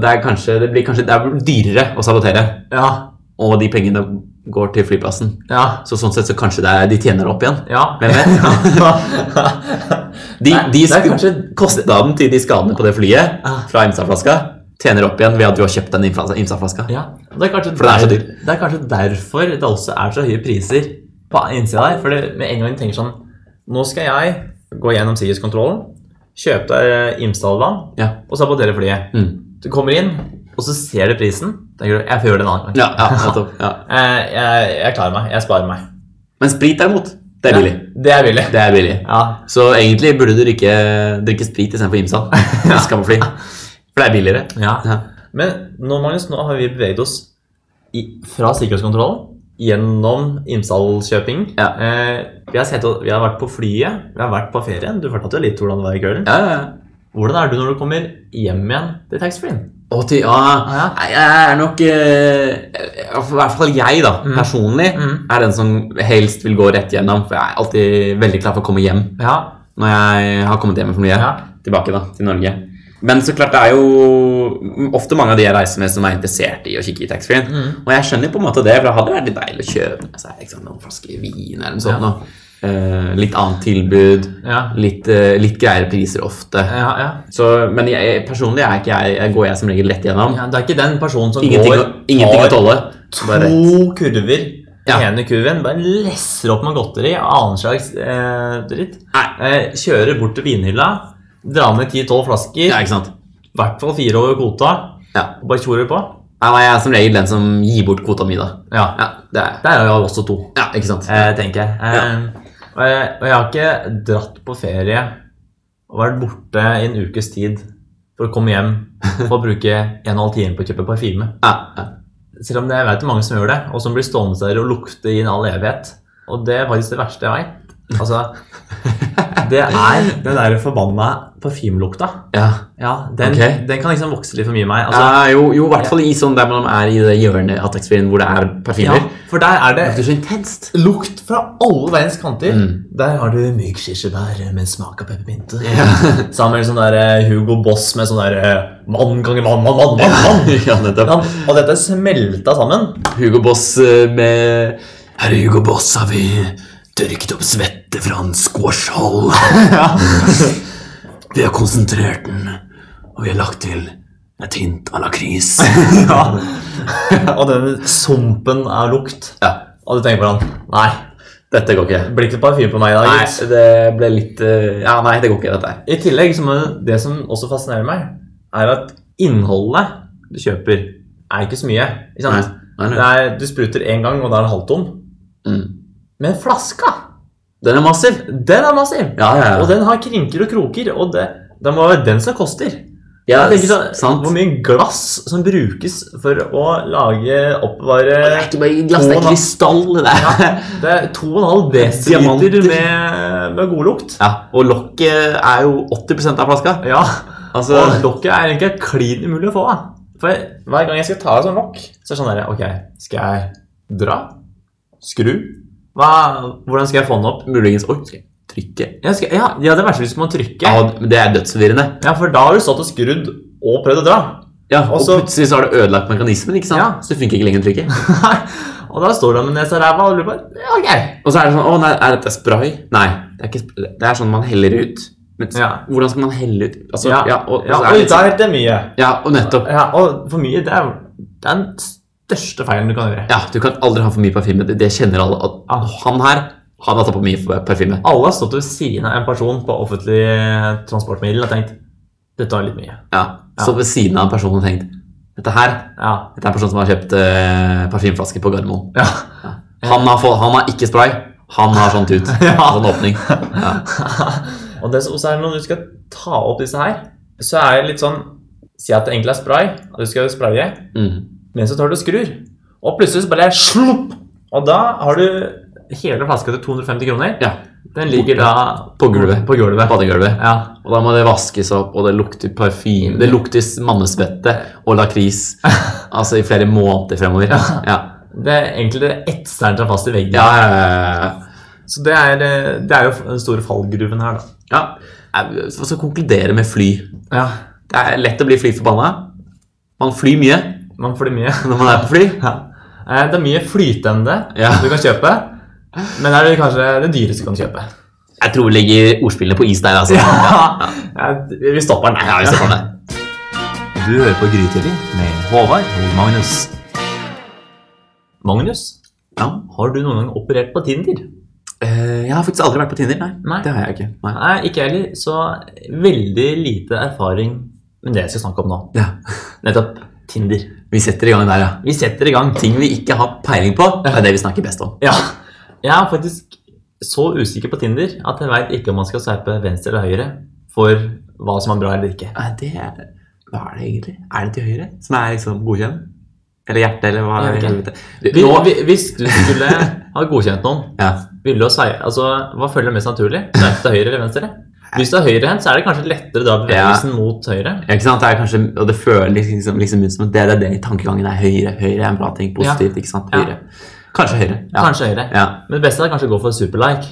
[SPEAKER 1] det, er kanskje, det blir kanskje det er dyrere å sabotere.
[SPEAKER 2] Ja.
[SPEAKER 1] Og de pengene går til flyplassen.
[SPEAKER 2] Ja.
[SPEAKER 1] Så sånn sett så kanskje det er, de tjener opp igjen.
[SPEAKER 2] ja.
[SPEAKER 1] Hvem vet? De,
[SPEAKER 2] Nei,
[SPEAKER 1] de
[SPEAKER 2] det er
[SPEAKER 1] sku-
[SPEAKER 2] kanskje-
[SPEAKER 1] Kostnaden til de skadene på det flyet
[SPEAKER 2] Ah.
[SPEAKER 1] fra Imstad-flaska tjener opp igjen ved at du har kjøpt den Imstad- Imstad-flaska.
[SPEAKER 2] Ja, og det er, kanskje
[SPEAKER 1] For det er så
[SPEAKER 2] der,
[SPEAKER 1] dyrt.
[SPEAKER 2] det er kanskje derfor det også er så høye priser på innsida der. For det- med en gang du tenker sånn Nå skal jeg gå gjennom sikkerhetskontrollen, kjøpe deg Imsdalland
[SPEAKER 1] Ja.
[SPEAKER 2] og sabotere flyet.
[SPEAKER 1] Mm.
[SPEAKER 2] Du kommer inn, og så ser du prisen. Tenker du, jeg får gjøre det en annen gang.
[SPEAKER 1] Ja, ja, nettopp, ja.
[SPEAKER 2] Eh, jeg, jeg klarer meg. Jeg sparer meg.
[SPEAKER 1] Men sprit derimot, det er billig.
[SPEAKER 2] Ja, det er billig.
[SPEAKER 1] Det er billig.
[SPEAKER 2] Ja.
[SPEAKER 1] Så egentlig burde du drikke, drikke sprit istedenfor Imsa. Du skal på fly. For det er billigere.
[SPEAKER 2] ja.
[SPEAKER 1] Ja.
[SPEAKER 2] Men nå, Magnus, nå har vi beveget oss i, fra sikkerhetskontrollen gjennom Imsdal-kjøping.
[SPEAKER 1] Ja.
[SPEAKER 2] Eh, vi, har sett, vi har vært på flyet, vi har vært på ferien. Du fortalte jo litt hvordan det var i køllen.
[SPEAKER 1] Ja, ja, ja.
[SPEAKER 2] Hvordan er du når du kommer hjem igjen til taxfree-en?
[SPEAKER 1] Å, til, ja.
[SPEAKER 2] ja.
[SPEAKER 1] Nei, Jeg er nok eh, I hvert fall jeg, da, personlig,
[SPEAKER 2] Mm.
[SPEAKER 1] er den som helst vil gå rett gjennom. For jeg er alltid veldig klar for å komme hjem
[SPEAKER 2] Ja.
[SPEAKER 1] når jeg har kommet hjem for mye.
[SPEAKER 2] Ja.
[SPEAKER 1] Tilbake da, til Norge. Men så klart, det er jo ofte mange av de jeg reiser med, som er interessert i å kikke i taxfree-en.
[SPEAKER 2] Mm.
[SPEAKER 1] Og jeg skjønner på en måte det, for det hadde vært litt deilig å kjøpe med seg ikke sant, noen flasker vin eller noe sånt.
[SPEAKER 2] Ja.
[SPEAKER 1] og, eh, litt annet tilbud.
[SPEAKER 2] Ja.
[SPEAKER 1] Litt, eh, litt greiere priser ofte.
[SPEAKER 2] Ja, ja.
[SPEAKER 1] Så, men jeg, personlig er ikke jeg, jeg går jeg som regel lett gjennom.
[SPEAKER 2] ja. Du er ikke den personen som
[SPEAKER 1] Ingenting,
[SPEAKER 2] går
[SPEAKER 1] å- ingenting å tåle.
[SPEAKER 2] tar
[SPEAKER 1] Bare rett.
[SPEAKER 2] to kurver
[SPEAKER 1] Ja.
[SPEAKER 2] Den ene kurven, bare lesser opp med godteri og annen slags eh, dritt.
[SPEAKER 1] Nei.
[SPEAKER 2] Eh, kjører bort til vinhylla, drar med 10-12 flasker, i
[SPEAKER 1] Ja, ikke sant?
[SPEAKER 2] hvert fall fire over kvota,
[SPEAKER 1] Ja.
[SPEAKER 2] og bare tjorer på.
[SPEAKER 1] Nei, nei, jeg er som regel den som gir bort kvota mi, da.
[SPEAKER 2] Ja.
[SPEAKER 1] Ja, det er jeg.
[SPEAKER 2] Der er jeg også to,
[SPEAKER 1] Ja, ikke sant?
[SPEAKER 2] eh, tenker jeg. Eh, og jeg. Og jeg har ikke dratt på ferie og vært borte i en ukes tid for å komme hjem for å bruke en og en halv time på å kjøpe parfyme.
[SPEAKER 1] Ja, ja.
[SPEAKER 2] Selv om det, jeg vet mange som gjør det, og som blir stående der og lukte i en all evighet. Og det er faktisk det verste jeg vet. Altså, det er den der forbanna parfymelukta.
[SPEAKER 1] ja.
[SPEAKER 2] Ja, den,
[SPEAKER 1] Ok.
[SPEAKER 2] den kan liksom vokse litt for mye i meg. Altså,
[SPEAKER 1] ja jo, jo, i hvert fall i sånn der man er i det hjørnet av taxfree-en hvor det er
[SPEAKER 2] ja,
[SPEAKER 1] parfymer.
[SPEAKER 2] for der er det
[SPEAKER 1] Det er så intenst.
[SPEAKER 2] Lukt fra alle verdens kanter.
[SPEAKER 1] Mm.
[SPEAKER 2] Der har du myk kirsebær med smak av peppermynte.
[SPEAKER 1] Ja.
[SPEAKER 2] Sammen med sånn der eh, Hugo Boss med sånn der eh, mann ganger mann, mann, mann, mann, mann.
[SPEAKER 1] ja, nettopp.
[SPEAKER 2] Ja, Og dette smelta sammen.
[SPEAKER 1] Hugo Boss eh, med Herre Hugo Boss har vi tørket opp svette fra en squashhold. vi har konsentrert den, og vi har lagt til et hint av lakris.
[SPEAKER 2] Ja. og denne sumpen av lukt.
[SPEAKER 1] ja,
[SPEAKER 2] Og du tenker på den. Nei,
[SPEAKER 1] dette går ikke.
[SPEAKER 2] det blir ikke parfyme på meg i dag.
[SPEAKER 1] Nei,
[SPEAKER 2] gitt.
[SPEAKER 1] det ble litt eh, Ja, nei, det går ikke, dette her.
[SPEAKER 2] I tillegg så må det som også fascinerer meg, er at innholdet du kjøper, er ikke så mye. Ikke sant?
[SPEAKER 1] Nei, nei,
[SPEAKER 2] Det er, du spruter én gang, og da er den halvtom.
[SPEAKER 1] Mm.
[SPEAKER 2] Men flaska,
[SPEAKER 1] Den er massiv!
[SPEAKER 2] den er massiv!
[SPEAKER 1] Ja, ja,
[SPEAKER 2] Og
[SPEAKER 1] ja.
[SPEAKER 2] den har krinker og kroker, og det, det må være den som koster.
[SPEAKER 1] ja
[SPEAKER 2] Jeg tenker sånn,
[SPEAKER 1] sant.
[SPEAKER 2] Hvor mye glass som brukes for å lage oppbevare
[SPEAKER 1] Det er ikke bare glass, det
[SPEAKER 2] to
[SPEAKER 1] er
[SPEAKER 2] da-
[SPEAKER 1] krystall. Det der.
[SPEAKER 2] ja, Det er 2,5 desiliter
[SPEAKER 1] Diamanter.
[SPEAKER 2] med, med god lukt.
[SPEAKER 1] Ja, og lokket er jo 80 av flaska.
[SPEAKER 2] Ja,
[SPEAKER 1] Altså,
[SPEAKER 2] så lokket er egentlig klin umulig å få. da. For hver gang jeg skal ta av sånn lokk, så er det sånn der, ok, skal jeg dra? Skru? Hva, hvordan skal jeg få den opp?
[SPEAKER 1] muligens Oi, skal jeg trykke?
[SPEAKER 2] Jeg skal, ja, ja, det verste hvis man trykker.
[SPEAKER 1] Ja, men Det er dødsforvirrende.
[SPEAKER 2] Ja, for da har du stått og skrudd og prøvd å dra.
[SPEAKER 1] Ja, og
[SPEAKER 2] Også-
[SPEAKER 1] plutselig så har du ødelagt mekanismen, ikke sant?
[SPEAKER 2] Ja.
[SPEAKER 1] så funker ikke lenger trykket.
[SPEAKER 2] og da står du med nesa i ræva og lurer på, ja, ok.
[SPEAKER 1] Og så er det sånn Å, nei, er dette spray? Nei. Det er, ikke, sp- det er sånn man heller ut. Men s-
[SPEAKER 2] Ja.
[SPEAKER 1] hvordan skal man helle ut Altså, ja,
[SPEAKER 2] Ja,
[SPEAKER 1] og, og
[SPEAKER 2] Ja,
[SPEAKER 1] så er
[SPEAKER 2] og
[SPEAKER 1] det litt,
[SPEAKER 2] da er det mye.
[SPEAKER 1] ja, og nettopp.
[SPEAKER 2] Ja, og for mye, det er det er den største feilen du kan gjøre.
[SPEAKER 1] Ja, du kan aldri ha for mye parfyme. Det, det kjenner alle. At,
[SPEAKER 2] Ja.
[SPEAKER 1] Han her, han har tatt på mye for- parfyme.
[SPEAKER 2] Alle har stått ved siden av en person på offentlig transportmiddel og tenkt dette var litt mye.
[SPEAKER 1] Ja. Så
[SPEAKER 2] Ja.
[SPEAKER 1] ved siden av en person og tenkt Dette her
[SPEAKER 2] Ja.
[SPEAKER 1] dette er en person som har kjøpt eh, parfymeflaske på Gardermoen.
[SPEAKER 2] ja.
[SPEAKER 1] Han har, fått, han har ikke spray. Han har sånn tut.
[SPEAKER 2] Ja.
[SPEAKER 1] Sånn åpning. Ja.
[SPEAKER 2] og det, og så er det når du skal ta opp disse her, så er det litt sånn Si at det egentlig er spray, og du skal spraye,
[SPEAKER 1] Mm.
[SPEAKER 2] men så tar du og skrur. Og plutselig så bare slupp! Og da har du hele flaska til 250 kroner.
[SPEAKER 1] ja.
[SPEAKER 2] Den ligger da
[SPEAKER 1] På gulvet.
[SPEAKER 2] På gulvet.
[SPEAKER 1] Badegulvet.
[SPEAKER 2] Ja.
[SPEAKER 1] Og da må det vaskes opp, og det lukter parfyme. Det lukter mannesvette og lakris Altså i flere måneder fremover. Ja,
[SPEAKER 2] Det er egentlig det etser seg fast i veggen.
[SPEAKER 1] ja, ja, ja, ja.
[SPEAKER 2] Så det er, eh, det er jo den store fallgruven her, da.
[SPEAKER 1] ja. Jeg skal konkludere med fly.
[SPEAKER 2] Ja.
[SPEAKER 1] Det er lett å bli flyforbanna. Man flyr mye
[SPEAKER 2] Man får det mye.
[SPEAKER 1] når man er på fly.
[SPEAKER 2] Ja. Eh, Det er mye flytende
[SPEAKER 1] Ja.
[SPEAKER 2] du kan kjøpe, men det er kanskje det dyreste du kan kjøpe.
[SPEAKER 1] Jeg tror vi legger ordspillene på is der, altså.
[SPEAKER 2] Ja, Vi stopper den.
[SPEAKER 1] Ja, vi ser for det.
[SPEAKER 2] Du hører på Grytidlig med Håvard og Magnus. Magnus,
[SPEAKER 1] Ja.
[SPEAKER 2] har du noen gang operert på Tinder?
[SPEAKER 1] Eh, Jeg har faktisk aldri vært på Tinder. Nei,
[SPEAKER 2] Nei.
[SPEAKER 1] det har jeg ikke. Nei.
[SPEAKER 2] Nei, ikke jeg heller, så veldig lite erfaring med det jeg skal snakke om nå.
[SPEAKER 1] Ja.
[SPEAKER 2] Nettopp Tinder.
[SPEAKER 1] Vi setter i gang der, ja.
[SPEAKER 2] Vi setter i gang.
[SPEAKER 1] Ting vi ikke har peiling på, det er det vi snakker best om.
[SPEAKER 2] Ja. Jeg er faktisk så usikker på Tinder at jeg veit ikke om man skal sveipe venstre eller høyre for hva som er bra eller ikke.
[SPEAKER 1] Nei, det er, Hva er det egentlig? Er det til høyre som er liksom godkjent? Eller hjerte, eller hva?
[SPEAKER 2] Jeg vet ikke.
[SPEAKER 1] helvete? Du-
[SPEAKER 2] Vi,
[SPEAKER 1] nå-
[SPEAKER 2] vi, hvis du skulle ha godkjent noen,
[SPEAKER 1] ja.
[SPEAKER 2] ville du ha svei- altså, hva føler du mest naturlig? Sveipe til høyre eller venstre? Hvis du er høyrehendt, så er det kanskje lettere å dra bevegelsen mot høyre.
[SPEAKER 1] Ja, ikke sant? Det er kanskje, og det føles liksom, liksom ut som at det er det i tankegangen er høyre. Høyre er en bra ting. Positivt. ikke sant?
[SPEAKER 2] Ja.
[SPEAKER 1] Høyre. Kanskje høyre. Ja.
[SPEAKER 2] Kanskje høyre.
[SPEAKER 1] Ja.
[SPEAKER 2] Men det beste er kanskje å gå for superlike.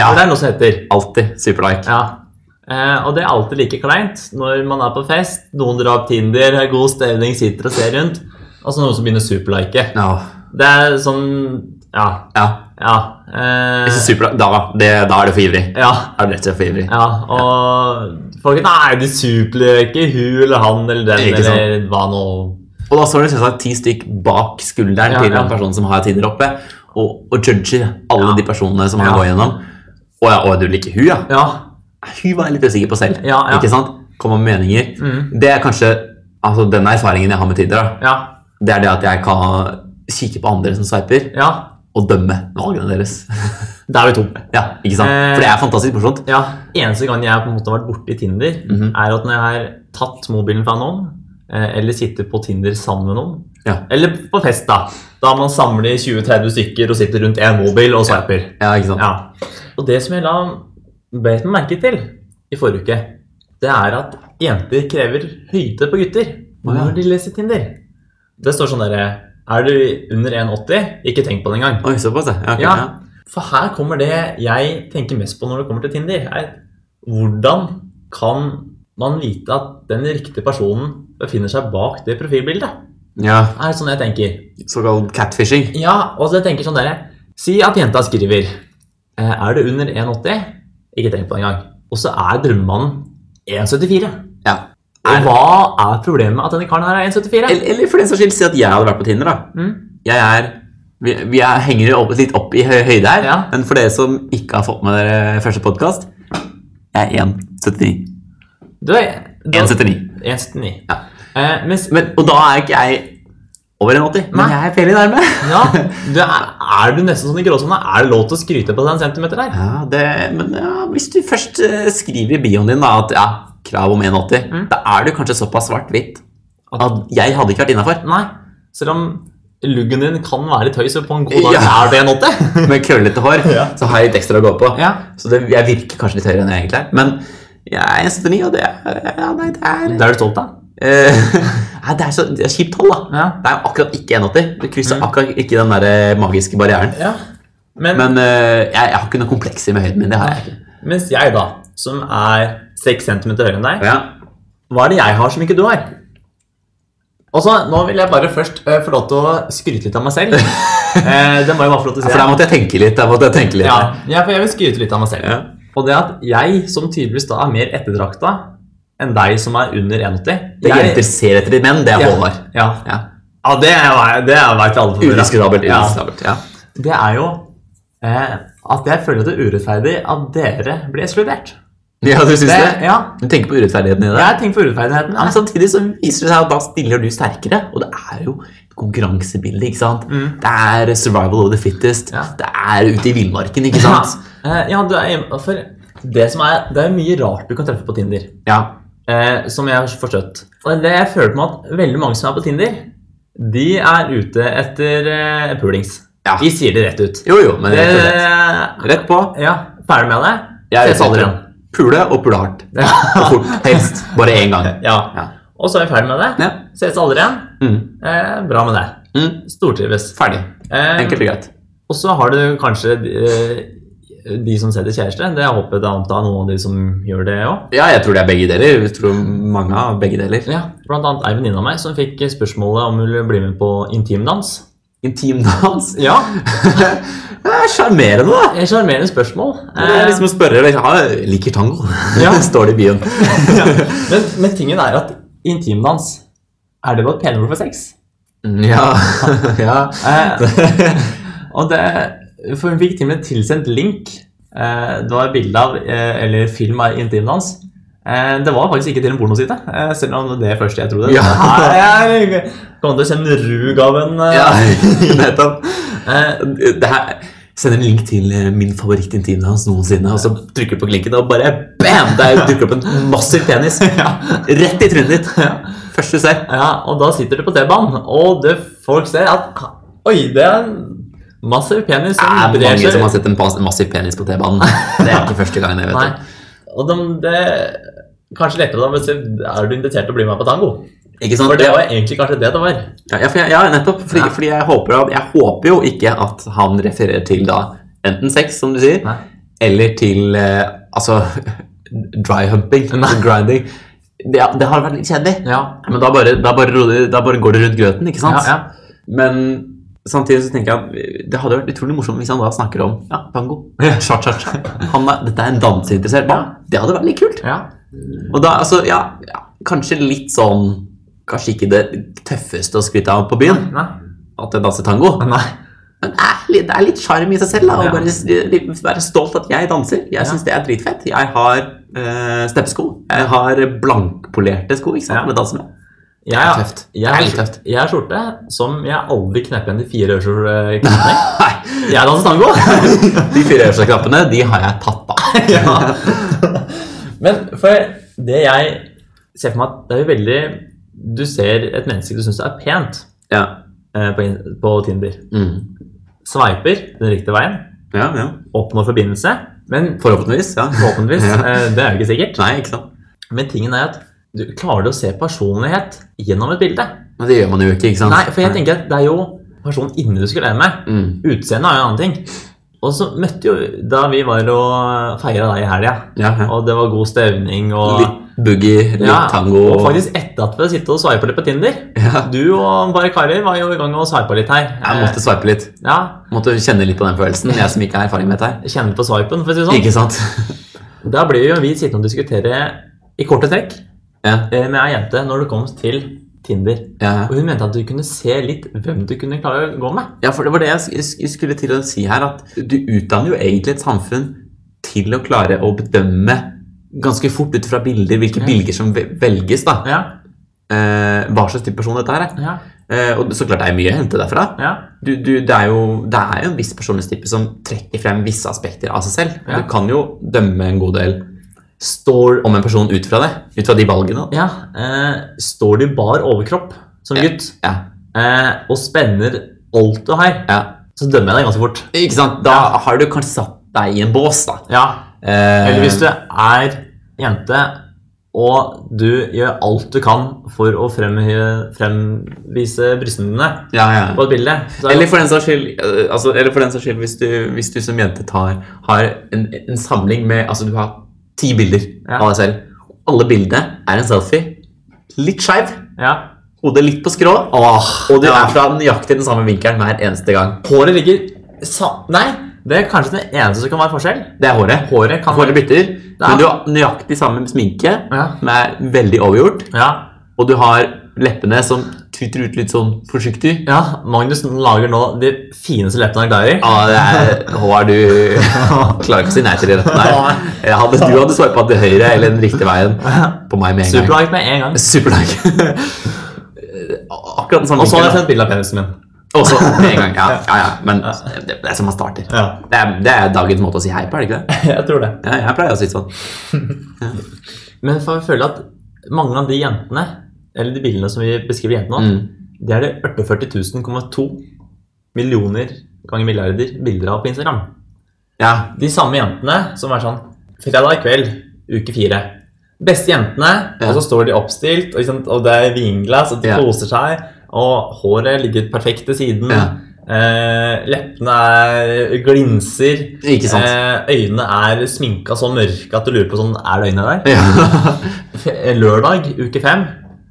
[SPEAKER 1] Ja.
[SPEAKER 2] For det er noe som heter.
[SPEAKER 1] Alltid superlike.
[SPEAKER 2] Ja. Eh, og det er alltid like kleint når man er på fest. Noen drar opp Tinder, har god stemning, sitter og ser rundt. Og så noen som begynner å superlike.
[SPEAKER 1] Ja.
[SPEAKER 2] Det er sånn Ja.
[SPEAKER 1] ja.
[SPEAKER 2] Ja. eh,
[SPEAKER 1] Jeg synes superlike, da, det, da er du for ivrig.
[SPEAKER 2] ja.
[SPEAKER 1] Da er du rett og slett for ivrig.
[SPEAKER 2] Ja, og folk sånn, Nei, de superløker hun eller han eller den
[SPEAKER 1] Ikke sant.
[SPEAKER 2] eller hva nå.
[SPEAKER 1] Og da står det selvsagt ti stykk bak skulderen
[SPEAKER 2] Ja,
[SPEAKER 1] til
[SPEAKER 2] ja.
[SPEAKER 1] den personen som har Tinder oppe, og, og judger alle
[SPEAKER 2] Ja.
[SPEAKER 1] de personene som han
[SPEAKER 2] Ja.
[SPEAKER 1] går gjennom. Å ja, å, du liker hun, ja?
[SPEAKER 2] Ja.
[SPEAKER 1] Hun var jeg litt usikker på selv.
[SPEAKER 2] Ja, ja.
[SPEAKER 1] Ikke sant? Kommer med meninger.
[SPEAKER 2] Mhm.
[SPEAKER 1] Det er kanskje altså, den erfaringen jeg har med Tinder. da.
[SPEAKER 2] Ja.
[SPEAKER 1] Det er det at jeg kan kikke på andre som sveiper,
[SPEAKER 2] ja.
[SPEAKER 1] og dømme valgene deres.
[SPEAKER 2] Da er vi to.
[SPEAKER 1] ja, ikke sant?
[SPEAKER 2] Eh.
[SPEAKER 1] For det er fantastisk morsomt.
[SPEAKER 2] Ja, Eneste gang jeg på en måte har vært borti Tinder,
[SPEAKER 1] Mhm.
[SPEAKER 2] er at når jeg har tatt mobilen fra noen, eh, eller sitter på Tinder sammen med noen,
[SPEAKER 1] Ja.
[SPEAKER 2] eller på fest, da, da man samler 20-30 stykker og sitter rundt én mobil og sveiper.
[SPEAKER 1] Ja, ikke sant?
[SPEAKER 2] Ja. Og det som jeg la bet meg merke til i forrige uke, det er at jenter krever høyde på gutter
[SPEAKER 1] Å, ja.
[SPEAKER 2] når de leser Tinder. Det står sånn derre Er du under 1,80? Ikke tenk på det engang.
[SPEAKER 1] Oi, såpass, ja. ok,
[SPEAKER 2] Ja.
[SPEAKER 1] ja.
[SPEAKER 2] For her kommer det jeg tenker mest på når det kommer til Tinder. Er hvordan kan man vite at den riktige personen befinner seg bak det profilbildet?
[SPEAKER 1] ja.
[SPEAKER 2] Er sånn jeg tenker.
[SPEAKER 1] Såkalt catfishing.
[SPEAKER 2] Ja, og så jeg tenker sånn dere. Si at jenta skriver eh, Er du under 1,80? Ikke tenk på det engang. Og så er drømmemannen 1,74.
[SPEAKER 1] Ja.
[SPEAKER 2] Og hva er problemet med at denne karen her er 1,74?
[SPEAKER 1] Eller, eller for den saks skyld, si at jeg hadde vært på Tinder, da.
[SPEAKER 2] Mm.
[SPEAKER 1] jeg er vi, vi er, henger opp, litt opp i hø- høyde her,
[SPEAKER 2] Ja.
[SPEAKER 1] men for dere som ikke har fått med dere første podkast Jeg er 1,79.
[SPEAKER 2] Du er
[SPEAKER 1] 1,79.
[SPEAKER 2] 1,79.
[SPEAKER 1] Ja.
[SPEAKER 2] Eh, mens
[SPEAKER 1] Men- Og da er ikke jeg over 1,80, men
[SPEAKER 2] Nei.
[SPEAKER 1] jeg er veldig nærme.
[SPEAKER 2] Ja, du er, er du nesten sånn i gråsona? Er det lov til å skryte på den centimeter der?
[SPEAKER 1] Ja, det, men ja, hvis du først eh, skriver i bioen din da, at ja, krav om 1,80,
[SPEAKER 2] Mm.
[SPEAKER 1] da er du kanskje såpass svart-hvitt at jeg hadde ikke vært innafor.
[SPEAKER 2] Nei. Selv om luggen din kan være litt høy, så på en god dag
[SPEAKER 1] Ja.
[SPEAKER 2] er det en 80.
[SPEAKER 1] Med krøllete hår
[SPEAKER 2] Ja.
[SPEAKER 1] så har jeg litt ekstra å gå på.
[SPEAKER 2] Ja.
[SPEAKER 1] Så det, jeg virker kanskje litt høyere enn jeg egentlig er. Men jeg er 1,79, og det er ja, Nei, det er
[SPEAKER 2] Det er du stolt av?
[SPEAKER 1] eh, Nei, det er så det er kjipt hold, da.
[SPEAKER 2] Ja. Mm.
[SPEAKER 1] Det er jo akkurat ikke 1,80. Du krysser akkurat ikke den der eh, magiske barrieren.
[SPEAKER 2] ja. Men,
[SPEAKER 1] Men eh, jeg, jeg har ikke noe komplekser med høyden min. Det har jeg ikke.
[SPEAKER 2] mens jeg, da, som er 6 cm høyere enn deg,
[SPEAKER 1] Ja.
[SPEAKER 2] hva er det jeg har som ikke du har? Og så, Nå vil jeg bare først eh, få lov til å skryte litt av meg selv. Eh, det må jeg bare få lov til å si.
[SPEAKER 1] For der måtte jeg tenke litt. Der måtte jeg tenke litt.
[SPEAKER 2] Ja, ja, for jeg vil skryte litt av meg selv.
[SPEAKER 1] Ja.
[SPEAKER 2] Og det at jeg, som tydeligvis da er mer etterdrakta enn deg som er under 1,80
[SPEAKER 1] Det
[SPEAKER 2] jeg-
[SPEAKER 1] jenter ser etter de menn, det er
[SPEAKER 2] ja,
[SPEAKER 1] Håvard.
[SPEAKER 2] Ja.
[SPEAKER 1] Ja.
[SPEAKER 2] ja, det, er- det veit alle for meg, da.
[SPEAKER 1] Udiskutabelt.
[SPEAKER 2] Ja.
[SPEAKER 1] udiskutabelt, Ja.
[SPEAKER 2] Det er jo eh, at jeg føler det er urettferdig at dere blir ekskludert.
[SPEAKER 1] ja, du syns det?
[SPEAKER 2] ja,
[SPEAKER 1] Du tenker på urettferdigheten i det?
[SPEAKER 2] jeg tenker på urettferdigheten.
[SPEAKER 1] Ja, men samtidig så viser det seg at da stiller du sterkere, og det er jo et konkurransebilde, ikke sant? Det er survival of the fittest,
[SPEAKER 2] Mm. Ja.
[SPEAKER 1] det er ute i villmarken, ikke sant?
[SPEAKER 2] Ja, eh, ja du er, for det, som er, det er mye rart du kan treffe på Tinder,
[SPEAKER 1] Ja.
[SPEAKER 2] eh, som jeg har forstått. Og det jeg føler på meg at veldig mange som er på Tinder, de er ute etter eh, pulings.
[SPEAKER 1] Ja.
[SPEAKER 2] De sier det rett Eh, ut.
[SPEAKER 1] Jo, jo, men
[SPEAKER 2] Det,
[SPEAKER 1] rett og slett. Rett på.
[SPEAKER 2] ja, ferdig med det.
[SPEAKER 1] Jeg
[SPEAKER 2] Ses
[SPEAKER 1] aldri
[SPEAKER 2] aldri igjen.
[SPEAKER 1] Pule og pule hardt. Og fort, helst. Bare én gang.
[SPEAKER 2] Ja.
[SPEAKER 1] Ja.
[SPEAKER 2] Og så er vi ferdig med det.
[SPEAKER 1] Ja.
[SPEAKER 2] Ses aldri igjen.
[SPEAKER 1] Mm.
[SPEAKER 2] Eh, bra med det.
[SPEAKER 1] Mm.
[SPEAKER 2] Stortrives.
[SPEAKER 1] Ferdig.
[SPEAKER 2] Eh,
[SPEAKER 1] Enkelt og greit.
[SPEAKER 2] Og så har du kanskje eh, de som setter kjæreste. Det håper jeg det antar noen av de som gjør det òg.
[SPEAKER 1] Ja, jeg tror det er begge deler. Jeg tror mange av begge deler.
[SPEAKER 2] Ja. Blant annet ei venninne av meg som fikk spørsmålet om hun ville bli med på intimdans.
[SPEAKER 1] Intimdans.
[SPEAKER 2] Ja,
[SPEAKER 1] Det er sjarmerende, da.
[SPEAKER 2] et Sjarmerende spørsmål.
[SPEAKER 1] Det er liksom å spørre liksom, «Ah, Liker tango?
[SPEAKER 2] Eh. Ja.
[SPEAKER 1] Står det i bioen.
[SPEAKER 2] Eh, men, men tingen er at intimdans er det bare et penord for sex.
[SPEAKER 1] Ja. ja.
[SPEAKER 2] Eh, og det, for hun fikk til og med tilsendt link. Eh, det var bilde av eh, eller film av intimdans. Eh, det var faktisk ikke til en pornoside, eh, selv om det er det første jeg trodde.
[SPEAKER 1] Ja.
[SPEAKER 2] Nei, jeg kom til å kjenne rug av en eh,
[SPEAKER 1] Ja, nettopp.
[SPEAKER 2] eh,
[SPEAKER 1] Det her sender en link til eh, min favorittintimdame hans noensinne, og så trykker du på linken, og bare bam! Der dukker opp en massiv penis rett i trynet ditt. Først du ser.
[SPEAKER 2] ja, Og da sitter du på T-banen, og det folk ser at Oi, det er en massiv penis
[SPEAKER 1] Det
[SPEAKER 2] som
[SPEAKER 1] er
[SPEAKER 2] brer
[SPEAKER 1] mange
[SPEAKER 2] seg.
[SPEAKER 1] som har sett en pas- en massiv penis på T-banen. Det er ikke første gangen, det,
[SPEAKER 2] Nei.
[SPEAKER 1] vet du.
[SPEAKER 2] Og de, det Kanskje lettere da, men se, er du invitert til å bli med på tango?
[SPEAKER 1] Ikke sant?
[SPEAKER 2] For det var egentlig kanskje det det var.
[SPEAKER 1] Ja, ja, for jeg, ja nettopp. Fordi,
[SPEAKER 2] Ja.
[SPEAKER 1] fordi jeg, håper at, jeg håper jo ikke at han refererer til da enten sex, som du sier,
[SPEAKER 2] Nei.
[SPEAKER 1] eller til eh, altså dry humping, grinding. Det, det har vært litt kjedelig.
[SPEAKER 2] Ja.
[SPEAKER 1] Men da bare, da, bare, roder- da bare går det rundt grøten, ikke sant?
[SPEAKER 2] Ja, ja.
[SPEAKER 1] Men samtidig så tenker jeg at det hadde vært utrolig morsomt hvis han da snakker om ja, tango. Cha, cha, cha. Han er, dette er en danseinteressert mann. Det hadde vært litt kult.
[SPEAKER 2] Ja.
[SPEAKER 1] Og da, altså, ja, ja, kanskje litt sånn Kanskje ikke det tøffeste å skryte av på byen,
[SPEAKER 2] Nei.
[SPEAKER 1] at jeg danser tango.
[SPEAKER 2] Nei.
[SPEAKER 1] Men det er litt, det er litt sjarm i seg selv. da, Å
[SPEAKER 2] Ja.
[SPEAKER 1] bare s- litt være stolt at jeg danser. Jeg syns det er dritfett. Jeg har eh, steppesko. Jeg har blankpolerte sko ikke sant,
[SPEAKER 2] Ja.
[SPEAKER 1] med danse med.
[SPEAKER 2] Jeg,
[SPEAKER 1] er tøft.
[SPEAKER 2] Jeg,
[SPEAKER 1] Det er litt tøft.
[SPEAKER 2] Jeg har skjorte som jeg aldri knepper igjen de fire øverste knappene. Jeg danser tango!
[SPEAKER 1] De fire øverste knappene de har jeg tatt av.
[SPEAKER 2] Men for det jeg ser for meg at det er jo veldig Du ser et menneske du syns er pent
[SPEAKER 1] Ja.
[SPEAKER 2] eh, på, in- på Tinder.
[SPEAKER 1] Mm.
[SPEAKER 2] Sveiper den riktige veien.
[SPEAKER 1] ja, ja.
[SPEAKER 2] Oppnår forbindelse. Men
[SPEAKER 1] Forhåpentligvis. ja.
[SPEAKER 2] forhåpentligvis.
[SPEAKER 1] Ja.
[SPEAKER 2] eh, Det er jo ikke sikkert.
[SPEAKER 1] Nei, ikke sant.
[SPEAKER 2] Men tingen er at du klarer du å se personlighet gjennom et bilde?
[SPEAKER 1] Men det gjør man jo ikke, ikke sant?
[SPEAKER 2] Nei, for jeg tenker at det er jo personen inni du skulle leve med.
[SPEAKER 1] mm.
[SPEAKER 2] Utseendet er jo en annen ting. Og så møtte jo Da vi var og feira deg i helga,
[SPEAKER 1] ja, ja.
[SPEAKER 2] og det var god stevning og
[SPEAKER 1] Litt boogie, litt
[SPEAKER 2] Ja,
[SPEAKER 1] tango
[SPEAKER 2] Og faktisk etter at vi hadde sittet og sveipa litt på Tinder
[SPEAKER 1] ja.
[SPEAKER 2] Du og bare karer var jo i gang og sveipa litt her.
[SPEAKER 1] Jeg måtte sveipe litt.
[SPEAKER 2] Eh, ja,
[SPEAKER 1] Måtte kjenne litt på den følelsen, jeg som ikke har erfaring med dette.
[SPEAKER 2] Kjenne på sveipen, for å si
[SPEAKER 1] her.
[SPEAKER 2] det
[SPEAKER 1] Ikke sant?
[SPEAKER 2] sånn. Da blir jo vi sittende og diskutere i korte trekk
[SPEAKER 1] Ja,
[SPEAKER 2] eh, med ei jente når det kom til Tinder.
[SPEAKER 1] ja. ja.
[SPEAKER 2] Og hun mente at du kunne se litt hvem du kunne klare å gå med.
[SPEAKER 1] Ja, for det var det jeg sk- sk- skulle til å si her, at du utdanner jo egentlig et samfunn til å klare å bedømme ganske fort ut fra bilder, hvilke
[SPEAKER 2] Ja.
[SPEAKER 1] bilder som ve- velges, da.
[SPEAKER 2] Ja,
[SPEAKER 1] Eh, hva slags type person dette her er.
[SPEAKER 2] ja.
[SPEAKER 1] Eh, og så klart det er mye å hente derfra.
[SPEAKER 2] Ja.
[SPEAKER 1] Du, du, det, er jo, det er jo en viss personlighetstype som trekker frem visse aspekter av seg selv. Og
[SPEAKER 2] Ja.
[SPEAKER 1] Du kan jo dømme en god del står om en person ut fra det. Ut fra de valgene. da.
[SPEAKER 2] ja eh, står du i bar overkropp som
[SPEAKER 1] Ja.
[SPEAKER 2] gutt
[SPEAKER 1] Ja,
[SPEAKER 2] eh, og spenner alt du har,
[SPEAKER 1] ja.
[SPEAKER 2] så dømmer jeg deg ganske fort.
[SPEAKER 1] Ikke sant? Da har du kanskje satt deg i en bås, da.
[SPEAKER 2] Ja.
[SPEAKER 1] Eh,
[SPEAKER 2] Eller hvis du er jente og du gjør alt du kan for å fremhe- fremvise brystene dine
[SPEAKER 1] ja, ja.
[SPEAKER 2] på et bilde. Så er
[SPEAKER 1] Eller
[SPEAKER 2] det-
[SPEAKER 1] for den saks skyld, eh, altså, eller for den saks skyld hvis, du, hvis du som jente tar, har en, en samling med Altså, du har ti bilder
[SPEAKER 2] Ja.
[SPEAKER 1] av deg selv. Alle bildene er en selfie. Litt skeiv,
[SPEAKER 2] ja.
[SPEAKER 1] hodet litt på skrå, og du
[SPEAKER 2] ja.
[SPEAKER 1] er fra nøyaktig den samme vinkelen hver eneste gang.
[SPEAKER 2] Håret ligger sa Nei, det er kanskje det eneste som kan være forskjell.
[SPEAKER 1] Det er håret.
[SPEAKER 2] Håret kan
[SPEAKER 1] Håret bytter,
[SPEAKER 2] Ja.
[SPEAKER 1] men du har nøyaktig samme sminke,
[SPEAKER 2] Ja.
[SPEAKER 1] som er veldig overgjort,
[SPEAKER 2] Ja.
[SPEAKER 1] og du har leppene som tuter ut litt sånn forsiktig.
[SPEAKER 2] ja. Magnus lager nå de fineste leppene han er glad i.
[SPEAKER 1] Ja, det er Håvard, du klarer ikke å si nei til de rettene der. Jeg Hadde, du hadde swipa til høyre eller den riktige veien på meg med en gang.
[SPEAKER 2] Superlag med en gang.
[SPEAKER 1] Superlag. Akkurat den samme
[SPEAKER 2] Og så har jeg
[SPEAKER 1] vinkelen.
[SPEAKER 2] sendt bilde av penisen min.
[SPEAKER 1] Og så med en gang. Ja, ja, ja. Men det, det er som man starter.
[SPEAKER 2] Ja.
[SPEAKER 1] Det er, det er dagens måte å si hei på, er det ikke det?
[SPEAKER 2] Jeg tror det.
[SPEAKER 1] Ja, jeg pleier å si sånn.
[SPEAKER 2] Men for jeg føler at mange av de jentene, eller de bildene som vi beskriver jentene nå,
[SPEAKER 1] Mm.
[SPEAKER 2] det er det 48.000,2 millioner ganger milliarder bilder av på Instagram.
[SPEAKER 1] Ja.
[SPEAKER 2] De samme jentene som er sånn Fredag kveld, uke fire. Beste jentene,
[SPEAKER 1] Ja.
[SPEAKER 2] og så står de oppstilt, og, ikke sant, og det er vinglass, og de
[SPEAKER 1] Ja.
[SPEAKER 2] koser seg, og håret ligger perfekt til siden.
[SPEAKER 1] Ja.
[SPEAKER 2] Eh, leppene er glinser.
[SPEAKER 1] Ikke sant.
[SPEAKER 2] Eh, øynene er sminka så mørke at du lurer på sånn, er det øynene der?
[SPEAKER 1] ja.
[SPEAKER 2] F- Lørdag uke fem.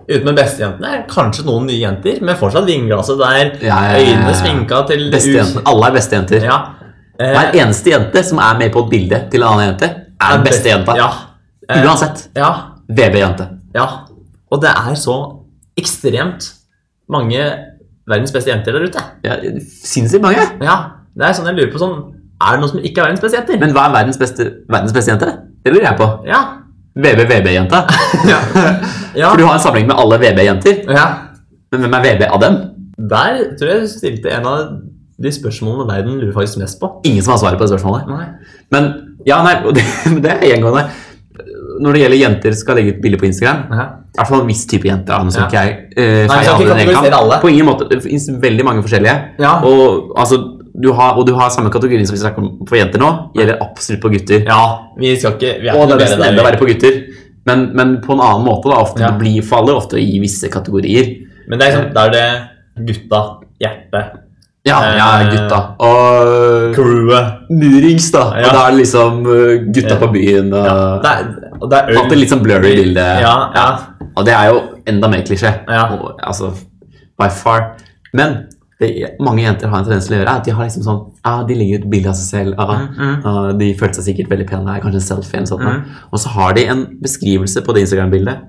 [SPEAKER 2] Ute med bestejentene. Kanskje noen nye jenter, men fortsatt vinglasset der.
[SPEAKER 1] Ja, ja, ja, ja.
[SPEAKER 2] Øynene sminka til
[SPEAKER 1] Bestejentene. Alle er bestejenter.
[SPEAKER 2] Ja. Eh,
[SPEAKER 1] Hver eneste jente som er med på et bilde til en annen jente, er den beste jenta.
[SPEAKER 2] Ja. Eh,
[SPEAKER 1] Uansett.
[SPEAKER 2] ja.
[SPEAKER 1] VB-jente.
[SPEAKER 2] Ja. Og det er så ekstremt mange verdens beste jenter der ute.
[SPEAKER 1] Ja, Sinnssykt mange.
[SPEAKER 2] Ja. Det er sånn jeg lurer på sånn Er det noen som ikke er verdens beste jenter?
[SPEAKER 1] Men hva er verdens beste, verdens beste jente? Det lurer jeg på.
[SPEAKER 2] Ja.
[SPEAKER 1] VB-VB-jenta.
[SPEAKER 2] Ja. ja.
[SPEAKER 1] For du har en samling med alle VB-jenter.
[SPEAKER 2] ja.
[SPEAKER 1] Men hvem er VB av dem?
[SPEAKER 2] Der tror jeg du stilte en av de spørsmålene verden lurer faktisk mest på.
[SPEAKER 1] Ingen som har svaret på det spørsmålet.
[SPEAKER 2] Nei.
[SPEAKER 1] Men ja, nei, og det, men det er gjengående. Når det gjelder jenter skal legge ut bilder på Instagram
[SPEAKER 2] Ja.
[SPEAKER 1] I hvert fall en viss type jenter. da, Nå skal
[SPEAKER 2] Ja.
[SPEAKER 1] ikke jeg eh,
[SPEAKER 2] Nei,
[SPEAKER 1] feie
[SPEAKER 2] vi skal
[SPEAKER 1] alle
[SPEAKER 2] ikke
[SPEAKER 1] over en
[SPEAKER 2] kategorisere
[SPEAKER 1] kam.
[SPEAKER 2] alle.
[SPEAKER 1] På ingen måte. Det finnes veldig mange forskjellige.
[SPEAKER 2] Ja.
[SPEAKER 1] Og, altså, du har, og du har samme kategorien som vi snakker om for jenter nå. Gjelder absolutt på gutter.
[SPEAKER 2] Ja, vi skal ikke vi
[SPEAKER 1] Og det
[SPEAKER 2] ikke
[SPEAKER 1] er nesten
[SPEAKER 2] bedre
[SPEAKER 1] enda
[SPEAKER 2] der.
[SPEAKER 1] verre på gutter. Men, men på en annen måte. da, ofte
[SPEAKER 2] Ja.
[SPEAKER 1] Det blir, faller ofte i visse kategorier.
[SPEAKER 2] Men det er, liksom, da er det gutta, hjertet,
[SPEAKER 1] Ja,
[SPEAKER 2] Eh,
[SPEAKER 1] ja gutta. Og
[SPEAKER 2] crewet
[SPEAKER 1] murings, da. Og
[SPEAKER 2] Ja.
[SPEAKER 1] da er det liksom eh, gutta
[SPEAKER 2] Ja.
[SPEAKER 1] på byen. Og,
[SPEAKER 2] det er, Og det er øl.
[SPEAKER 1] Alltid litt sånn blurry bilde.
[SPEAKER 2] Ja, ja.
[SPEAKER 1] Og det er jo enda mer klisjé.
[SPEAKER 2] Ja.
[SPEAKER 1] Og, Altså, by far. Men det er- mange jenter har en tendens til å gjøre er at de har liksom sånn ah, De legger ut bilde av seg selv. Ah,
[SPEAKER 2] Mm,
[SPEAKER 1] ah, de følte seg sikkert veldig pene. her, Kanskje en selfie. eller sånt,
[SPEAKER 2] Mm.
[SPEAKER 1] Og så har de en beskrivelse på det Instagram-bildet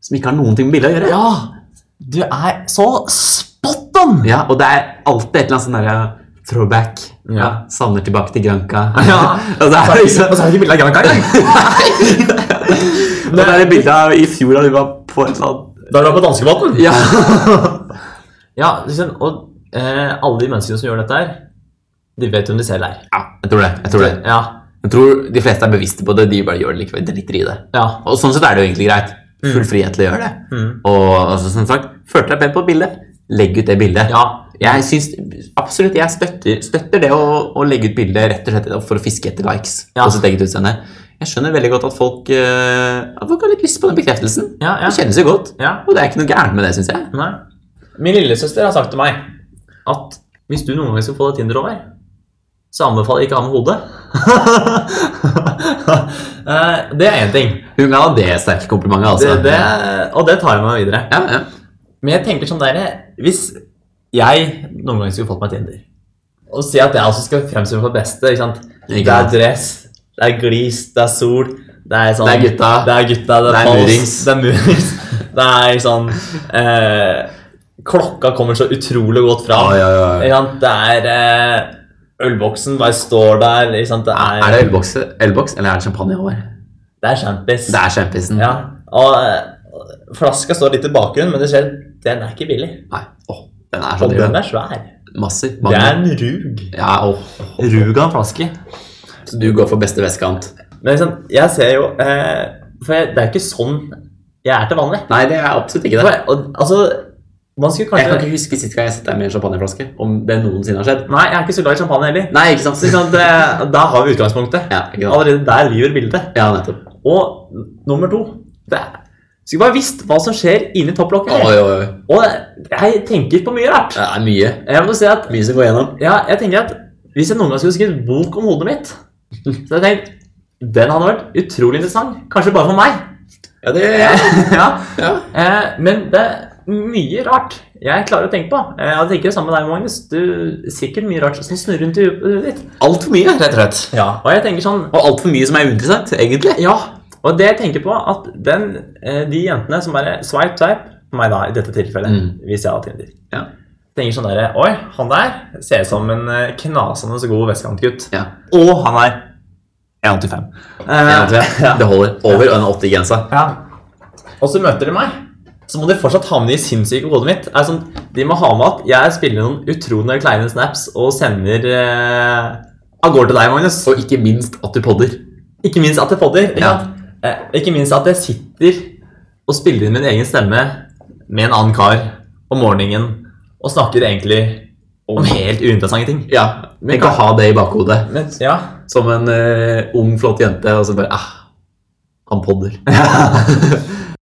[SPEAKER 1] som ikke har noen ting med bildet å gjøre.
[SPEAKER 2] ja, du er så spot on!
[SPEAKER 1] Ja, og det er alltid et eller annet sånn derre throwback.
[SPEAKER 2] Ja.
[SPEAKER 1] Ja. Savner tilbake til Granca.
[SPEAKER 2] Ja.
[SPEAKER 1] og det er liksom
[SPEAKER 2] Og så er det ikke bilde av Gran Canaria.
[SPEAKER 1] Og det er et bilde av i fjor da du var på et eller annet
[SPEAKER 2] Da er du på danskebåten.
[SPEAKER 1] Ja.
[SPEAKER 2] Ja, liksom, og eh, alle de menneskene som gjør dette her, de vet hvem de selv er.
[SPEAKER 1] ja jeg tror det. Jeg tror det.
[SPEAKER 2] Ja,
[SPEAKER 1] Jeg tror de fleste er bevisste på det. De bare gjør det likevel. Driter i det.
[SPEAKER 2] ja.
[SPEAKER 1] Og sånn sett er det jo egentlig greit. Full frihet til å gjøre det.
[SPEAKER 2] Mm.
[SPEAKER 1] Og altså, som sagt, følte deg pen på et bilde, legg ut det bildet.
[SPEAKER 2] Ja,
[SPEAKER 1] Jeg synes, absolutt, jeg støtter, støtter det å, å legge ut bilder rett og slett for å fiske etter likes.
[SPEAKER 2] Ja.
[SPEAKER 1] på sitt eget utseende. Jeg skjønner veldig godt at folk, eh, at folk har litt lyst på den bekreftelsen.
[SPEAKER 2] ja, ja.
[SPEAKER 1] Det kjennes jo godt.
[SPEAKER 2] ja.
[SPEAKER 1] Og det er ikke noe gærent med det, syns jeg.
[SPEAKER 2] Nei. Min lillesøster har sagt til meg at hvis du noen gang skal få deg Tinder-over, så anbefaler jeg ikke å ha med hodet. Eh, det er én ting,
[SPEAKER 1] Hun ga det sterke komplimentet,
[SPEAKER 2] det,
[SPEAKER 1] altså.
[SPEAKER 2] det, og det tar jeg med meg videre.
[SPEAKER 1] Ja, ja.
[SPEAKER 2] Men jeg tenker sånn der, hvis jeg noen gang skulle fått meg Tinder, og si at jeg også skal fremstå for det beste ikke sant?
[SPEAKER 1] Ikke
[SPEAKER 2] Det er
[SPEAKER 1] sant.
[SPEAKER 2] dress, det er glis, det er sol, det er sånn
[SPEAKER 1] Det er gutta.
[SPEAKER 2] det er gutta, det
[SPEAKER 1] Det
[SPEAKER 2] er,
[SPEAKER 1] er
[SPEAKER 2] pals,
[SPEAKER 1] murings.
[SPEAKER 2] Det er murings. Det er sånn eh, Klokka kommer så utrolig godt fram.
[SPEAKER 1] Ja, ja, ja.
[SPEAKER 2] Ikke sant? Det er eh, Ølboksen bare står der. Ikke sant? Det er,
[SPEAKER 1] Er det ølboks, ølboks, eller er det champagne i år?
[SPEAKER 2] det er champis.
[SPEAKER 1] Det er champisen.
[SPEAKER 2] Ja. Og eh, flaska står litt i bakgrunnen, men det skjer Den er ikke billig.
[SPEAKER 1] Nei, åh, den er så
[SPEAKER 2] Og
[SPEAKER 1] dyr.
[SPEAKER 2] den
[SPEAKER 1] den.
[SPEAKER 2] er svær.
[SPEAKER 1] Massiv.
[SPEAKER 2] Det er
[SPEAKER 1] Mange.
[SPEAKER 2] en rug.
[SPEAKER 1] Ja, åh.
[SPEAKER 2] Rug av en flaske.
[SPEAKER 1] Så du går for beste vestkant?
[SPEAKER 2] Men liksom, jeg ser jo eh, For jeg, det er jo ikke sånn jeg er til vanlig.
[SPEAKER 1] Nei, det er absolutt ikke
[SPEAKER 2] For,
[SPEAKER 1] det.
[SPEAKER 2] jeg- og, altså, man skulle
[SPEAKER 1] Jeg kan
[SPEAKER 2] kanskje
[SPEAKER 1] ikke huske sist gang jeg satt der med en champagneflaske. Om det noensinne har skjedd.
[SPEAKER 2] Nei, jeg er ikke så glad i champagne heller.
[SPEAKER 1] Nei, ikke sant?
[SPEAKER 2] Så ikke sant, det, Da har vi utgangspunktet.
[SPEAKER 1] Ja, ikke sant?
[SPEAKER 2] Allerede der lyver bildet.
[SPEAKER 1] Ja, nettopp.
[SPEAKER 2] Og n- nummer to det er, Skulle bare visst hva som skjer inni topplokket.
[SPEAKER 1] Oi,
[SPEAKER 2] her.
[SPEAKER 1] oi, oi.
[SPEAKER 2] Og jeg tenker på mye rart.
[SPEAKER 1] Det er mye.
[SPEAKER 2] Jeg må si at
[SPEAKER 1] Mye som går gjennom.
[SPEAKER 2] Ja, jeg tenker at hvis jeg noen gang skulle skrevet bok om hodet mitt, så hadde jeg tenkt den hadde vært utrolig interessant. Kanskje bare for meg.
[SPEAKER 1] Ja, det
[SPEAKER 2] ja.
[SPEAKER 1] Ja.
[SPEAKER 2] Eh, men det er mye rart jeg klarer å tenke på. Eh, Jeg tenker det samme med deg, Magnus. Du, sikkert mye rart som snurrer rundt i hodet ditt.
[SPEAKER 1] Altfor mye, rett og slett.
[SPEAKER 2] Og jeg tenker sånn
[SPEAKER 1] Og altfor mye som er uinteressant, egentlig.
[SPEAKER 2] Ja. Og det jeg tenker på, at den, eh, de jentene som bare swipe type på meg da, i dette tilfellet,
[SPEAKER 1] Mm.
[SPEAKER 2] hvis jeg har Tinder
[SPEAKER 1] Ja.
[SPEAKER 2] Tenker sånn derre Oi, han der ser ut som en eh, knasende så god vestkantgutt.
[SPEAKER 1] Ja.
[SPEAKER 2] Og han er 1,85.
[SPEAKER 1] Ja,
[SPEAKER 2] Eh,
[SPEAKER 1] det det holder. Over en 80-grensa.
[SPEAKER 2] ja. Og så møter de meg. Så må de fortsatt ha med det i sinnssyke hodet mitt. Er sånn, de må ha med at jeg spiller noen utrolig kleine snaps og sender eh, av gårde til deg, Magnus.
[SPEAKER 1] Og ikke minst at du podder.
[SPEAKER 2] Ikke minst at jeg podder. Ikke,
[SPEAKER 1] Ja.
[SPEAKER 2] sant? eh, ikke minst at jeg sitter og spiller inn min egen stemme med en annen kar om morgenen og snakker egentlig om helt uinteressante ting.
[SPEAKER 1] Ja, men ikke ha det i bakhodet
[SPEAKER 2] Men, ja.
[SPEAKER 1] som en eh, ung, flott jente, og så bare ah, han podder.